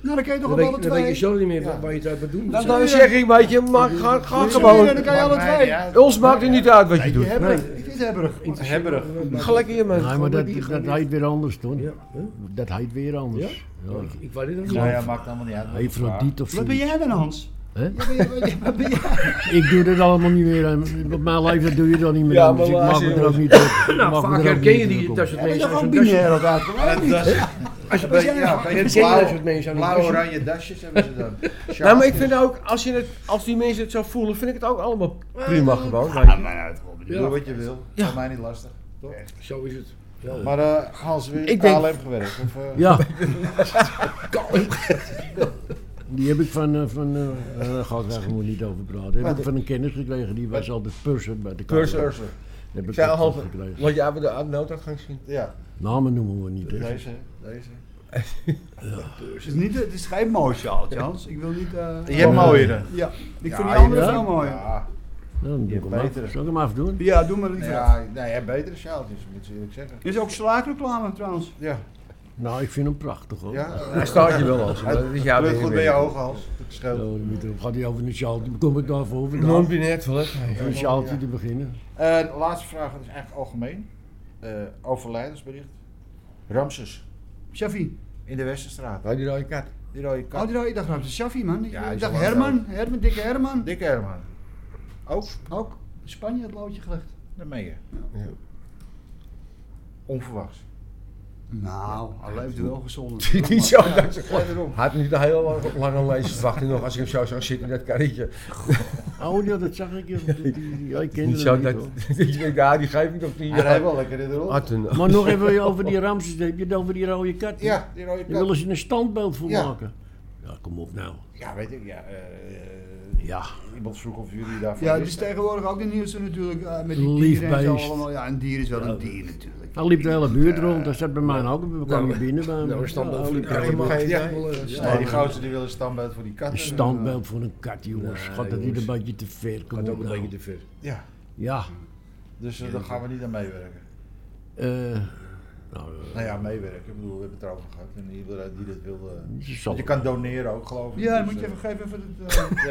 S1: Nou, dan kan je toch
S3: Dan,
S1: op
S3: weet,
S1: alle
S3: je- dan weet je
S1: twee.
S3: zo niet meer waar je het uit moet doen.
S4: Nou, dan zeg ik, weet je, maar ga, ga gewoon.
S1: Dan kan je alle
S2: Maakt mij
S1: twee.
S2: niet uit.
S4: Ons maakt het niet uit wat je
S1: Je
S4: doet.
S1: hebberig, het is hebberig.
S2: Hebberig.
S4: Ga lekker hier,
S5: Nee,
S4: man.
S5: maar dat,
S3: die
S5: dat
S3: gaan
S5: heet weer anders, toch?
S3: Ja, hè?
S5: Dat heet weer anders. Ja.
S3: Ik, ik weet het nog niet.
S2: Nou ja, maakt allemaal niet uit.
S5: Hefrodiet of zo.
S1: Wat ben jij dan, Hans?
S5: Hè?
S1: Wat ben jij- Wat ben jij?
S5: Ik doe dit allemaal niet meer. En Op mijn leeftijd doe je dat niet meer.
S4: Ja,
S5: aan, dus ik
S4: maar
S5: mag
S4: waar
S5: me
S4: is
S5: er ook
S4: hij,
S5: niet op.
S3: Nou,
S5: mag me
S3: vaak
S5: er ook
S3: herken
S5: niet
S3: je
S5: op.
S3: die, dat soort
S1: Ja, ben je
S3: mensen
S1: toch
S3: als
S1: gewoon
S3: een dasje.
S1: binair elkaar? Kom maar, niet?
S3: Als
S2: Weet je, ja,
S3: herken je dat
S2: blauwe,
S3: soort mensen aan een
S2: blauwe
S3: dasje?
S2: oranje dasjes hebben ze dan.
S4: Nou, maar ik vind ook, als, je het, als die mensen het zo voelen, vind ik het ook allemaal prima gewoon.
S2: Ja, maar uit, Robin.
S3: Ja.
S2: Doe wat je wil.
S4: Ja.
S2: Voor mij niet lastig. Toch?
S3: Zo is het.
S2: Maar eh, Hans, weer
S4: Ik
S2: ik
S4: denk-
S2: KLM gewerkt? Of, eh,
S5: Ja. Die heb ik van, eh, van eh eh, daar ga ik eigenlijk maar niet over praten. Heb ik van een kennis gekregen, die was altijd purser bij de
S4: Purser.
S5: KLM. Heb
S4: Ik
S5: ik
S4: zei
S5: ook
S4: al,
S5: van gekregen.
S4: want jij hebben de nooduitgang zien.
S2: Ja,
S5: Namen noemen we niet, hè. Nou,
S2: deze. deze.
S1: Het is niet- Het is geen mooi sjaaltje, Hans. Ik wil niet... eh,
S2: Je hebt mooiere.
S1: Ja, ik vind
S2: Ja,
S1: die andere
S5: ja.
S1: wel mooi.
S2: Ja,
S5: Dan doe
S2: Je
S5: ik hem af.
S2: betere.
S5: Zal ik hem afdoen?
S1: Ja, doe maar liever.
S2: ja, nee, je hebt betere sjaaltjes, moet ik eerlijk zeggen.
S1: Is ook slaakreclame trouwens.
S2: Ja,
S5: Nou, ik vind hem prachtig hoor.
S2: ja.
S4: Hij staat je wel als. maar Dat is jouw
S2: Kleurt
S4: ding
S2: goed bij
S4: weer.
S2: je ogen, Hans. Het
S5: Zo,
S2: scheelt.
S5: dan moet er- Nou, gaat hij over een sjaaltje, kom ik daarvoor vandaan.
S4: Non-binair toilet.
S5: Om Een sjaaltje te beginnen.
S2: Eh, de laatste vraag dat is eigenlijk algemeen. Eh, overlijdensbericht. Ramses
S1: Shafi.
S2: in de Westerstraat.
S4: Waar die rode kat?
S2: Die rode
S1: Oh,
S2: kat.
S1: die- ik dacht dat is Shafi, man.
S2: Ja, hij
S1: ik
S2: is
S1: dacht
S2: al lang
S1: Herman. Herman, dikke Herman.
S2: Dikke Herman. Ook,
S1: Ook in Spanje het loodje gelegd.
S2: daarmee je.
S4: Ja.
S2: Onverwachts.
S1: Nou, hij leeft wel gezond.
S4: Niet zo.
S2: Ga erom.
S4: Hij had niet een heel lang- lange levensverwachting nog als ik hem zo zag zitten in dat karretje.
S5: Oh ja, dat zag ik. ja, die- die- die- ja, Ik
S4: Niet
S5: kende
S4: zo
S5: hem
S4: dat,
S5: niet, hoor.
S4: dat je denkt, ja, die geef ik nog niet.
S2: Hij rijdt wel lekker in de
S3: Ah,
S2: rol.
S4: Had een-
S5: Maar nog even over die Ramses, heb je het over die rode kat?
S2: Ja, die rode
S5: Daar willen
S2: kat.
S5: ze een standbeeld voor
S2: Ja.
S5: maken. Ja, kom op nou.
S2: Ja, weet ik. Ja, eh,
S5: Ja.
S2: Iemand vroeg of jullie daarvan
S1: Ja, het is
S2: wisten.
S1: tegenwoordig ook de nieuwste natuurlijk. eh, met die
S5: Lief
S1: dieren en zo
S5: beest.
S1: allemaal. Ja, een dier is wel een dier natuurlijk.
S5: Hij liep de hele buurt rond, dat zat bij mij ook. We kwamen hier binnen bij
S3: Nou,
S5: hem.
S3: een standbeeld
S5: Ja, oh,
S3: voor die
S5: hij liep-
S4: Ja,
S3: kat.
S4: maar-
S2: Nee, die gozer die wil een standbeeld voor die kat.
S5: Een standbeeld voor een kat, jongens.
S3: Nee,
S5: Gaat dat niet
S3: jongens.
S5: een beetje te ver? Kom
S3: Gaat
S5: op
S3: ook een
S5: nou.
S3: beetje te ver.
S2: Ja,
S5: Ja.
S2: dus eh, daar gaan we niet aan meewerken.
S5: eh, nou, eh,
S2: Nou ja, meewerken. Ik bedoel, we hebben het erover gehad. En iedereen die dat wil. eh,
S5: ze zal-
S2: want je kan doneren ook, geloof ik.
S1: Ja, dan
S2: Dus,
S1: moet je
S2: eh,
S1: even geven even het, eh,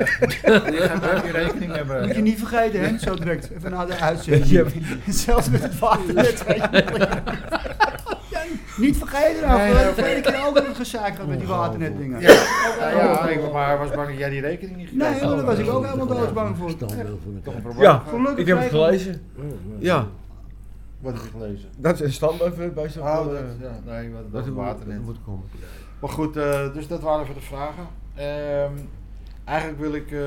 S2: Je gaat daar je rekening hebben.
S1: moet je niet vergeten, hè? Zo direct. Even na de uitzending.
S4: Ja.
S1: Zelfs met het waternet. weet je wel. Ja, niet vergeten, nou,
S2: Nee,
S1: nee,
S2: oké.
S1: vorige keer ook een gezeik gehad met die waternetdingen.
S2: Ja, ja, ik, maar hij was bang dat jij die rekening niet gekregen
S1: Oh.
S5: Oh,
S1: Nee, maar daar was ik ook
S5: Ja,
S1: helemaal doodsbang voor.
S5: Standbeeld voor een
S2: Toch
S5: kat.
S2: een probleem.
S4: Ja.
S2: gehad?
S1: Gelukkig
S4: Ik heb het
S1: kregen we-
S4: gelezen. Ja,
S2: Wat heb je gelezen?
S4: dat is een standbeeld voor- bij zo'n
S2: Oh, dat, ja, nee, wat,
S4: Dat
S2: dat
S4: er
S2: water
S4: water
S2: in.
S4: moet komen.
S2: Maar goed, eh, dus dat waren even de vragen. Ehm, eigenlijk wil ik eh,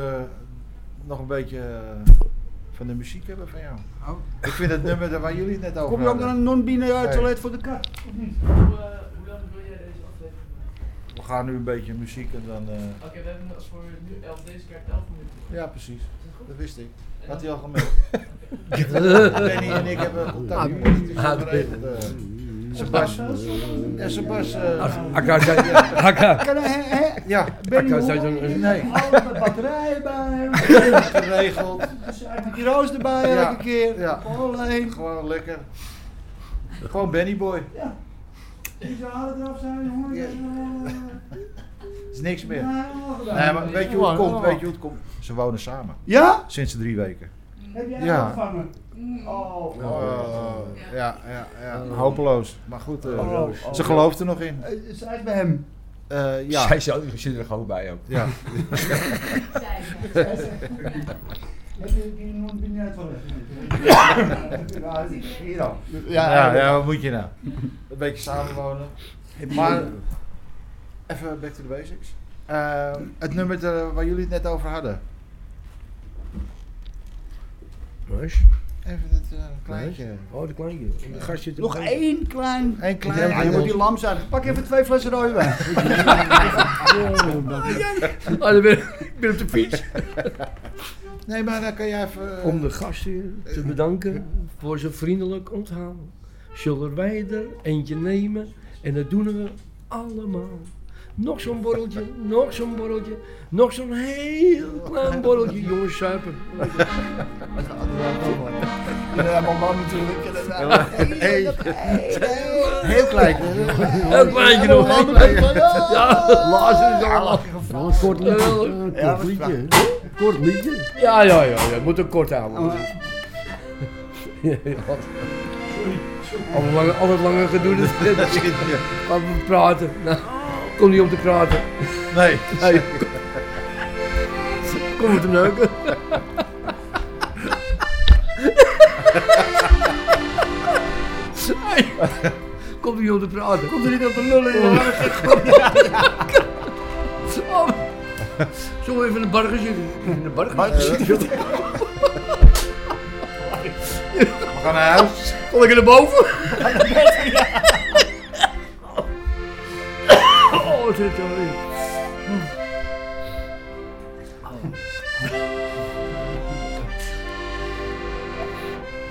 S2: nog een beetje eh, van de muziek hebben van jou.
S1: Oh.
S2: Ik vind het nummer daar waar jullie het net over
S1: Kom je ook
S2: hadden.
S1: naar een non-binair
S2: Nee.
S1: toilet voor de kat? Of niet?
S11: Hoe, eh, hoe lang wil jij deze aflevering? maken?
S2: We gaan nu een beetje muziek en dan... eh,
S11: Oké, we hebben voor nu elf, deze keer 11 minuten.
S2: ja, precies.
S11: Is dat goed?
S2: Dat wist ik.
S11: En
S2: Had
S11: dan-
S2: hij al gemeld. Danny en ik hebben contact. nu. Het is
S4: Ah,
S2: geregeld, eh. Sebas. Ja, Sebas. eh,
S4: Akka,
S1: Kan hij, hè, hè?
S2: ja,
S1: Benny,
S3: kan
S1: hoe
S3: zeggen,
S1: lang-
S2: nee.
S1: Alle batterijen bij hem.
S2: geregeld.
S1: Met die roos erbij
S2: Ja,
S1: elke keer.
S2: ja.
S1: Alleen.
S2: Gewoon lekker. Gewoon Benny Boy.
S1: Die zouden eraf zijn, jongen.
S2: Ja.
S1: Dat is wel,
S2: Het is niks meer.
S1: eh, ja, helemaal gedaan.
S2: Nee, maar weet je hoe het
S1: Ja.
S2: komt? Weet je hoe het komt? Ze wonen samen.
S1: Ja?
S2: Sinds drie weken.
S1: Heb jij
S2: Ja.
S1: ja. ontvangen? Oh,
S2: ja, ja, ja. Hopeloos. Maar goed, eh,
S1: Oh, oh.
S2: ze gelooft er nog in.
S1: Eh, Zij is bij hem.
S2: eh, ja.
S4: Zij zelf die zit er gewoon bij ook.
S2: ja. Ja, ja, wat moet je nou? Een beetje samenwonen. Maar, even back to the basics. Eh, het nummer dat- waar jullie het net over hadden.
S5: Wees?
S2: Even het eh, kleintje.
S5: Oh, de kleintje. De gast zit er
S1: Nog
S5: bij.
S1: één klein...
S2: Eén kleintje.
S1: Ja, je moet die lam zijn. Pak even twee flessen rode wijn.
S5: Oh, dat-
S3: Ah, dan ben ik- ik ben op de fiets.
S2: Nee, maar dan kan jij even...
S3: Om de gastheer te bedanken voor zijn vriendelijk onthaal. Zullen wij er eentje nemen en dat doen we allemaal. Nog zo'n borreltje, nog zo'n borreltje, nog zo'n heel klein borreltje, jongens, zuipen.
S2: Hey. eh, Heel klein.
S3: Heel kleintje nog. Ja, Lazarus allemaal.
S5: Wel een kort liedje.
S3: Ja,
S5: wel een kort liedje. hè? Kort liedje.
S3: Ja, ja, ja, ja, moet ook kort houden. Ja, ja. Al lang, al het lange gedoe, dat gaan we praten. Nou, kom niet om te praten.
S2: Nee.
S3: Nee. Kom om te neuken. Hey. Kom niet om te praten. Oh. Kom er niet om te lullen. in Zullen we even in de bar gaan zitten? In de bar gaan zitten?
S2: We gaan naar huis.
S3: Kom ik naar boven? Oh, wat zit er in?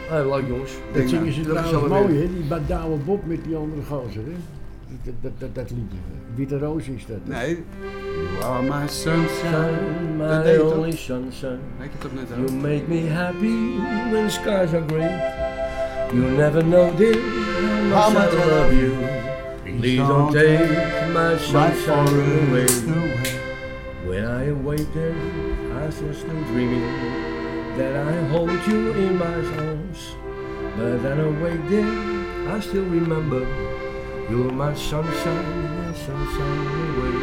S3: Hey, leuk jongens.
S5: Dat zingen ze
S3: nou, Dat is
S5: trouwens
S3: wel weer.
S5: mooi, hè? Die Douwe Bob met die andere gozer, hè? Dat, dat, dat, dat liedje. Witte Roos is dat.
S6: Nee. You are my sunshine.
S3: Sunshine,
S6: Dat
S3: my
S6: deed het
S3: only sunshine.
S6: Lijkt het op net
S3: You
S6: aan.
S3: make me happy when skies are grey. You never know, dear, how much I love you. Please don't take my sunshine away. When I awake there, I'm still dreaming that I hold you in my arms. But then awake there, I still remember you're my sunshine, my sunshine away.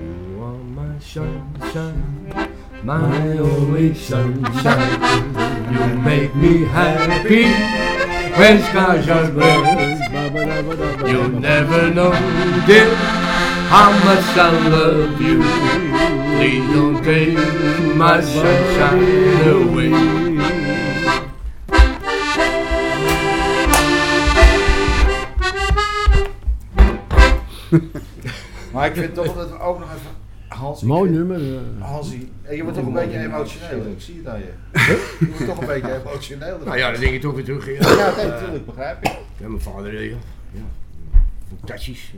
S3: You are my sunshine, my only sunshine. You make me happy when skies are blue. You never know, dear, how much I love you. Please don't take my sunshine away.
S2: Maar ik vind toch dat we ook nog even... Hans, ik
S5: Mooi
S2: vind-
S5: nummer. eh.
S2: Hansie, je wordt toch een beetje emotioneel. Ik zie het aan je. Je wordt toch een beetje emotioneel.
S3: Nou ja, dat denk ik toch weer terug. Ja,
S2: Ja, nee, natuurlijk, begrijp ik.
S3: Ja, mijn vader, ja. ja. Fantastisch.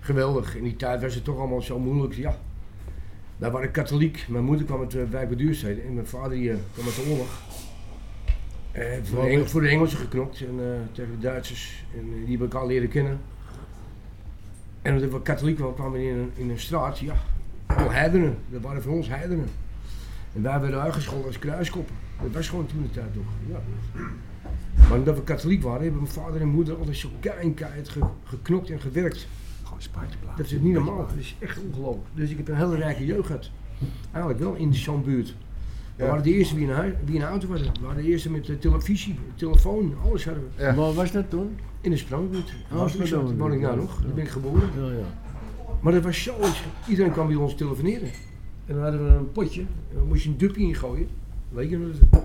S3: Geweldig. In die tijd was het toch allemaal zo moeilijk, ja. Wij waren katholiek. Mijn moeder kwam uit de wijk bij Duurstede en mijn vader die, eh, kwam uit de oorlog. Eh, voor, de Engel- voor de Engelsen geknokt en eh, tegen de Duitsers. En eh, die hebben elkaar leren kennen. En omdat we katholiek waren, kwamen we in een, in een straat, ja. Al heidenen. Dat waren voor ons heidenen. En wij werden uitgescholden als kruiskoppen. Dat was gewoon toen de tijd toch. Ja. Maar omdat we katholiek waren, hebben mijn vader en moeder altijd zo keihard ge geknokt en gewerkt.
S6: Gewoon spaartje plaatsen.
S3: Dat is niet normaal. Dat is echt ongelooflijk. Dus ik heb een hele rijke jeugd gehad. Eigenlijk wel in zo'n buurt. We
S2: Ja.
S3: waren de eerste die in, hui- die in de auto waren. We waren de eerste met de televisie, telefoon, alles hadden we.
S2: Ja.
S5: Waar was dat toen?
S3: In de Sprangbuurt.
S5: Oh,
S3: Waar ik
S5: Sprangbuurt.
S3: woon ik nou
S5: Ja.
S3: nog. Daar ben ik geboren.
S5: Ja, ja.
S3: Maar dat was zo. Iedereen kwam bij ons telefoneren. En dan hadden we een potje. En dan moest je een dupje ingooien. Weet je nog dat?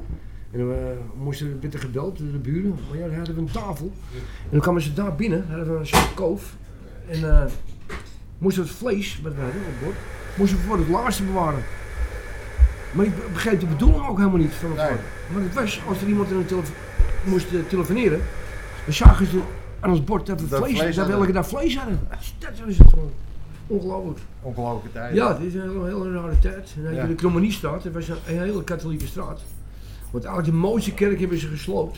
S3: En dan eh, moesten we werd er gebeld door de buren. Maar ja, dan hadden we een tafel. En dan kwamen ze daar binnen. Dan hadden we een soort koof. En eh, moesten we het vlees, wat we hadden op bord, moesten we voor het laatste bewaren. Maar ik be- begreep de bedoeling ook helemaal niet van het
S2: Nee.
S3: woord. Maar het was, als er iemand in een telefo- moest eh, telefoneren, dan zagen ze aan ons bord dat we
S2: Dat
S3: vlees,
S2: vlees
S3: dat we
S2: hadden.
S3: elke dag vlees hadden. Dat is het gewoon. Ongelooflijk.
S2: Ongelooflijke tijd.
S3: Ja, het is een hele, hele rare tijd. En dan heb je
S2: Ja.
S3: de Kromoniestraat, dat was een, een hele katholieke straat. Want eigenlijk de mooiste kerk hebben ze gesloopt.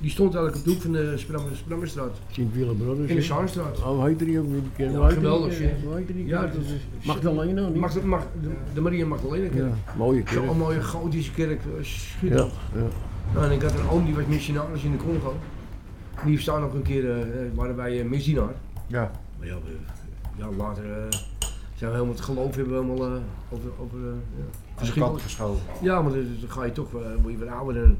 S3: Die stond eigenlijk op de hoek van de Spram- Sprammerstraat.
S5: Sint Willem Brothers.
S3: In de
S5: hè?
S3: Zaanstraat.
S5: Oh, heet die ook weer bekend?
S3: Ja,
S5: Hoe heet die?
S3: geweldig, hè?
S5: Hoe heet die?
S3: Ja, dat is...
S5: Magdalena, niet?
S3: Mag, mag, de, de Maria Magdalena kerk.
S5: Ja, mooie kerk.
S3: Zo'n mooie gotische kerk. eh, Schitterend.
S5: Ja, ja.
S3: Nou, en ik had een oom die was missionaris in de Congo. Die heeft daar nog een keer, eh, eh, waren wij eh, misdienaar.
S2: Ja.
S3: Maar ja, we, ja, later eh, zijn we helemaal het geloof hebben we helemaal eh, over, over eh, ja, verschillende-
S2: Verschil geschoven.
S3: Ja, maar dan, dan ga je toch, eh, word je wat ouder. En,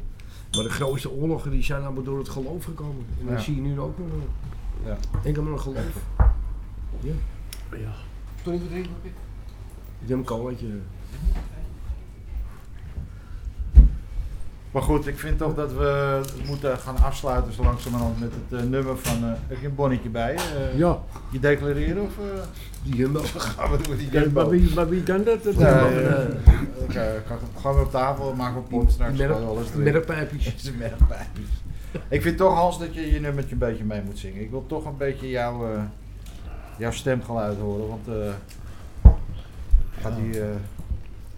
S3: maar de grootste oorlogen die zijn allemaal door het geloof gekomen. En
S2: Ja.
S3: dat zie je nu ook nog.
S2: Ja.
S3: Ik Enkel maar een geloof. Ja.
S5: Ja.
S3: Toen ik drinken, Pik? Ik heb een colaatje.
S2: Maar goed, ik vind toch dat we het moeten gaan afsluiten zo langzamerhand met het eh, nummer van... eh, heb je een bonnetje bij? eh,
S5: Ja,
S2: Je declareren of... eh,
S3: Die jumbo.
S2: gaan we door die
S5: ja,
S2: jumbo? eh,
S5: maar, wie, maar wie kan dat? dat
S2: Ja,
S5: dat-
S2: ja, ja. Oké, eh, ga- gaan we op tafel, maken we pot straks.
S3: Merk-
S2: gooien we alles erin.
S3: Merkpijpjes.
S2: Het is een merkpijpjes. Ik vind toch, Hans, dat je je nummertje een beetje mee moet zingen. Ik wil toch een beetje jouw, eh, jouw stemgeluid horen, want... eh, gaat die... eh,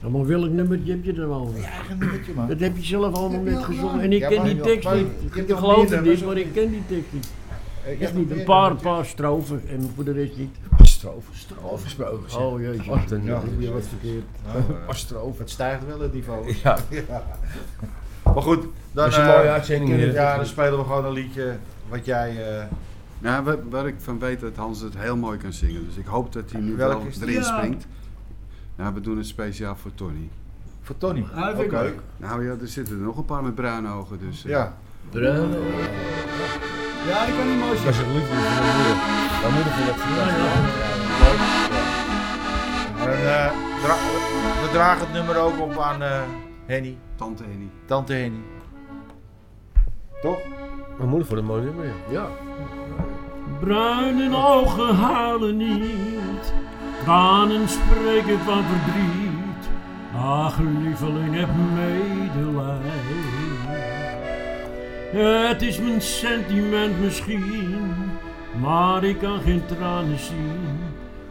S5: Nou, maar welk nummertje heb je dan over?
S2: je eigen nummertje, man.
S5: Dat heb je zelf allemaal
S2: Dat heb je
S5: net
S2: al
S5: gezongen.
S2: gedaan.
S5: En ik
S2: Ja,
S5: ken
S2: maar-
S5: die tekst
S2: maar-
S5: niet.
S2: je hebt
S5: Ik
S2: toch
S5: geloof
S2: meer
S5: het niet,
S2: nummers,
S5: maar
S2: of
S5: ik
S2: niet?
S5: ken die tekst niet.
S2: Ik heb
S5: Echt niet.
S2: nog
S5: Een
S2: meer
S5: paar,
S2: nummertjes.
S5: paar strofen en voor de rest niet.
S4: Stroven. Stroven gesproken. zeg.
S5: Oh jezus.
S4: Wat een
S2: Ja.
S5: Ik doe je wat verkeerd.
S2: Nou, eh, Het stijgt wel het niveau.
S4: Ja,
S2: Maar goed, dan,
S4: dat is een
S2: eh,
S4: mooie uitzending.
S2: in het
S4: hè.
S2: jaar dan spelen we gewoon een liedje wat jij... eh,
S6: Nou, wa- waar, ik van weet dat Hans het heel mooi kan zingen. Dus ik hoop dat hij nu
S2: Welke
S6: wel
S2: is die?
S6: erin
S1: Ja.
S6: springt. Nou, we doen het speciaal voor Tony.
S2: voor Tony.
S1: Ah, dat vind ik
S2: Oké.
S1: leuk.
S6: Nou ja, er zitten er nog een paar met bruine ogen. Dus, eh,
S2: Ja.
S3: Bruin.
S1: Ja, ik kan niet mooi
S4: Dat is
S1: zingen.
S4: het liedje van mijn moeder. Mijn moeder vond dat
S2: En, eh, dra- we dragen het nummer ook op aan eh, Henny,
S6: Tante Henny.
S2: tante Henny. Toch?
S4: Mijn moeder vond het mooi nummer, ja.
S3: Ja.
S5: Bruine ogen halen niet, tranen spreken van verdriet. Ach, lieveling, heb medelijden. Het is mijn sentiment misschien, maar ik kan geen tranen zien.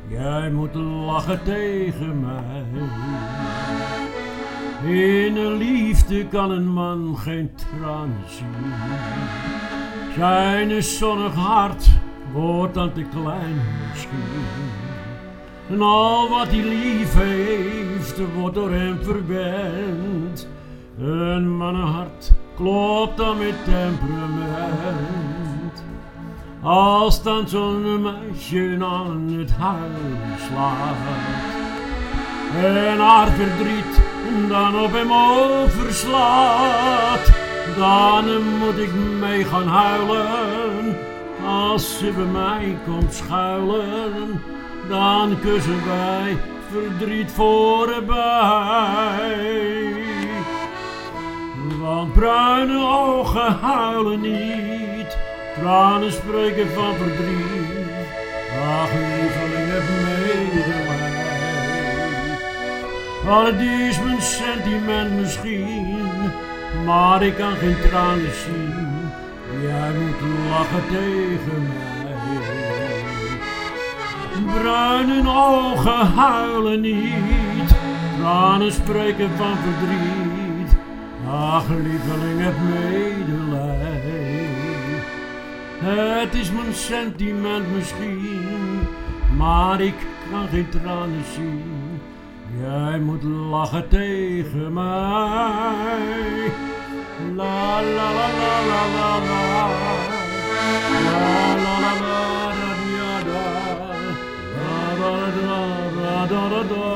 S5: Jij moet lachen tegen mij. In een liefde kan een man geen tranen zien. Zijn zonnig hart wordt dan te klein misschien. En al wat hij lief heeft, wordt door hem verwend. Een mannenhart klopt dan met temperament. Als dan zo'n meisje aan het huis slaat. En haar verdriet dan op hem overslaat. Dan moet ik mee gaan huilen. Als ze bij mij komt schuilen, dan kussen wij verdriet voorbij. Want bruine ogen huilen niet, tranen spreken van verdriet. Ach, lieveling, heb medelijden. Want het is mijn sentiment misschien, maar ik kan geen tranen zien. Jij moet lachen tegen mij. Bruine ogen huilen niet, tranen spreken van verdriet. Ach, lieveling, heb medelijden. Het is mijn sentiment misschien, maar ik kan geen tranen zien. Jij moet lachen tegen mij. La la la la la la la. La la la la da dia, da. Da, da, da, da, da, da, da.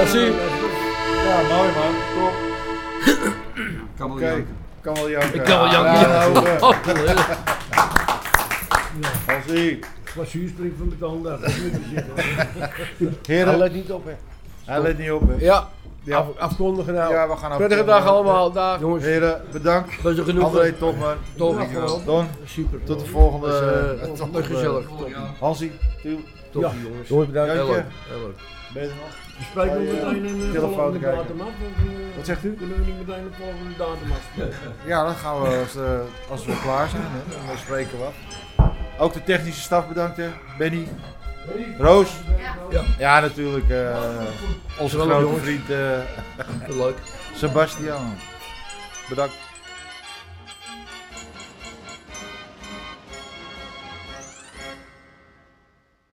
S4: Elsie.
S2: Ja, mooi man. Top.
S6: Kan wel
S2: Oké.
S6: janken.
S2: Kan wel janken.
S3: Ik kan wel janken.
S2: Ja, nou, eh, Hansie.
S5: Glazuur springt van de tanden af.
S2: Heren,
S4: let niet op, hè.
S2: hij let niet op. hè.
S4: Ja,
S2: Ja.
S4: af- afkondigen nou.
S2: Ja, we gaan af.
S4: Prettige dag allemaal, dag.
S3: Jongens,
S2: Heren, bedankt.
S3: dat is genoeg.
S2: André, Topman.
S3: Tom,
S2: Don,
S3: super.
S2: tot de volgende.
S3: Dus, eh,
S2: eh,
S3: dat is gezellig.
S2: Hansie, Tiel,
S3: Top,
S5: Ja.
S3: jongens.
S4: Jongens, bedankt.
S2: Jantje.
S3: Heel leuk. Heel leuk.
S2: ben je er nog?
S5: Je spreekt
S2: Oh,
S5: nog
S2: ja.
S5: meteen een eh,
S2: Telefoon
S5: volgende
S2: kijken.
S5: datum af. want, eh,
S2: Wat zegt u?
S5: Kunnen we niet meteen een volgende datum afspreken?
S2: Ja, dan gaan we als, eh, als we klaar zijn. Hè, dan spreken we af. Ook de technische staf bedankt, hè. Benny. Roos.
S3: Ja.
S2: Ja, natuurlijk. eh, onze
S3: Geweldig,
S2: grote
S3: jongens.
S2: vriend eh,
S3: Heel leuk.
S2: Sebastian. Bedankt.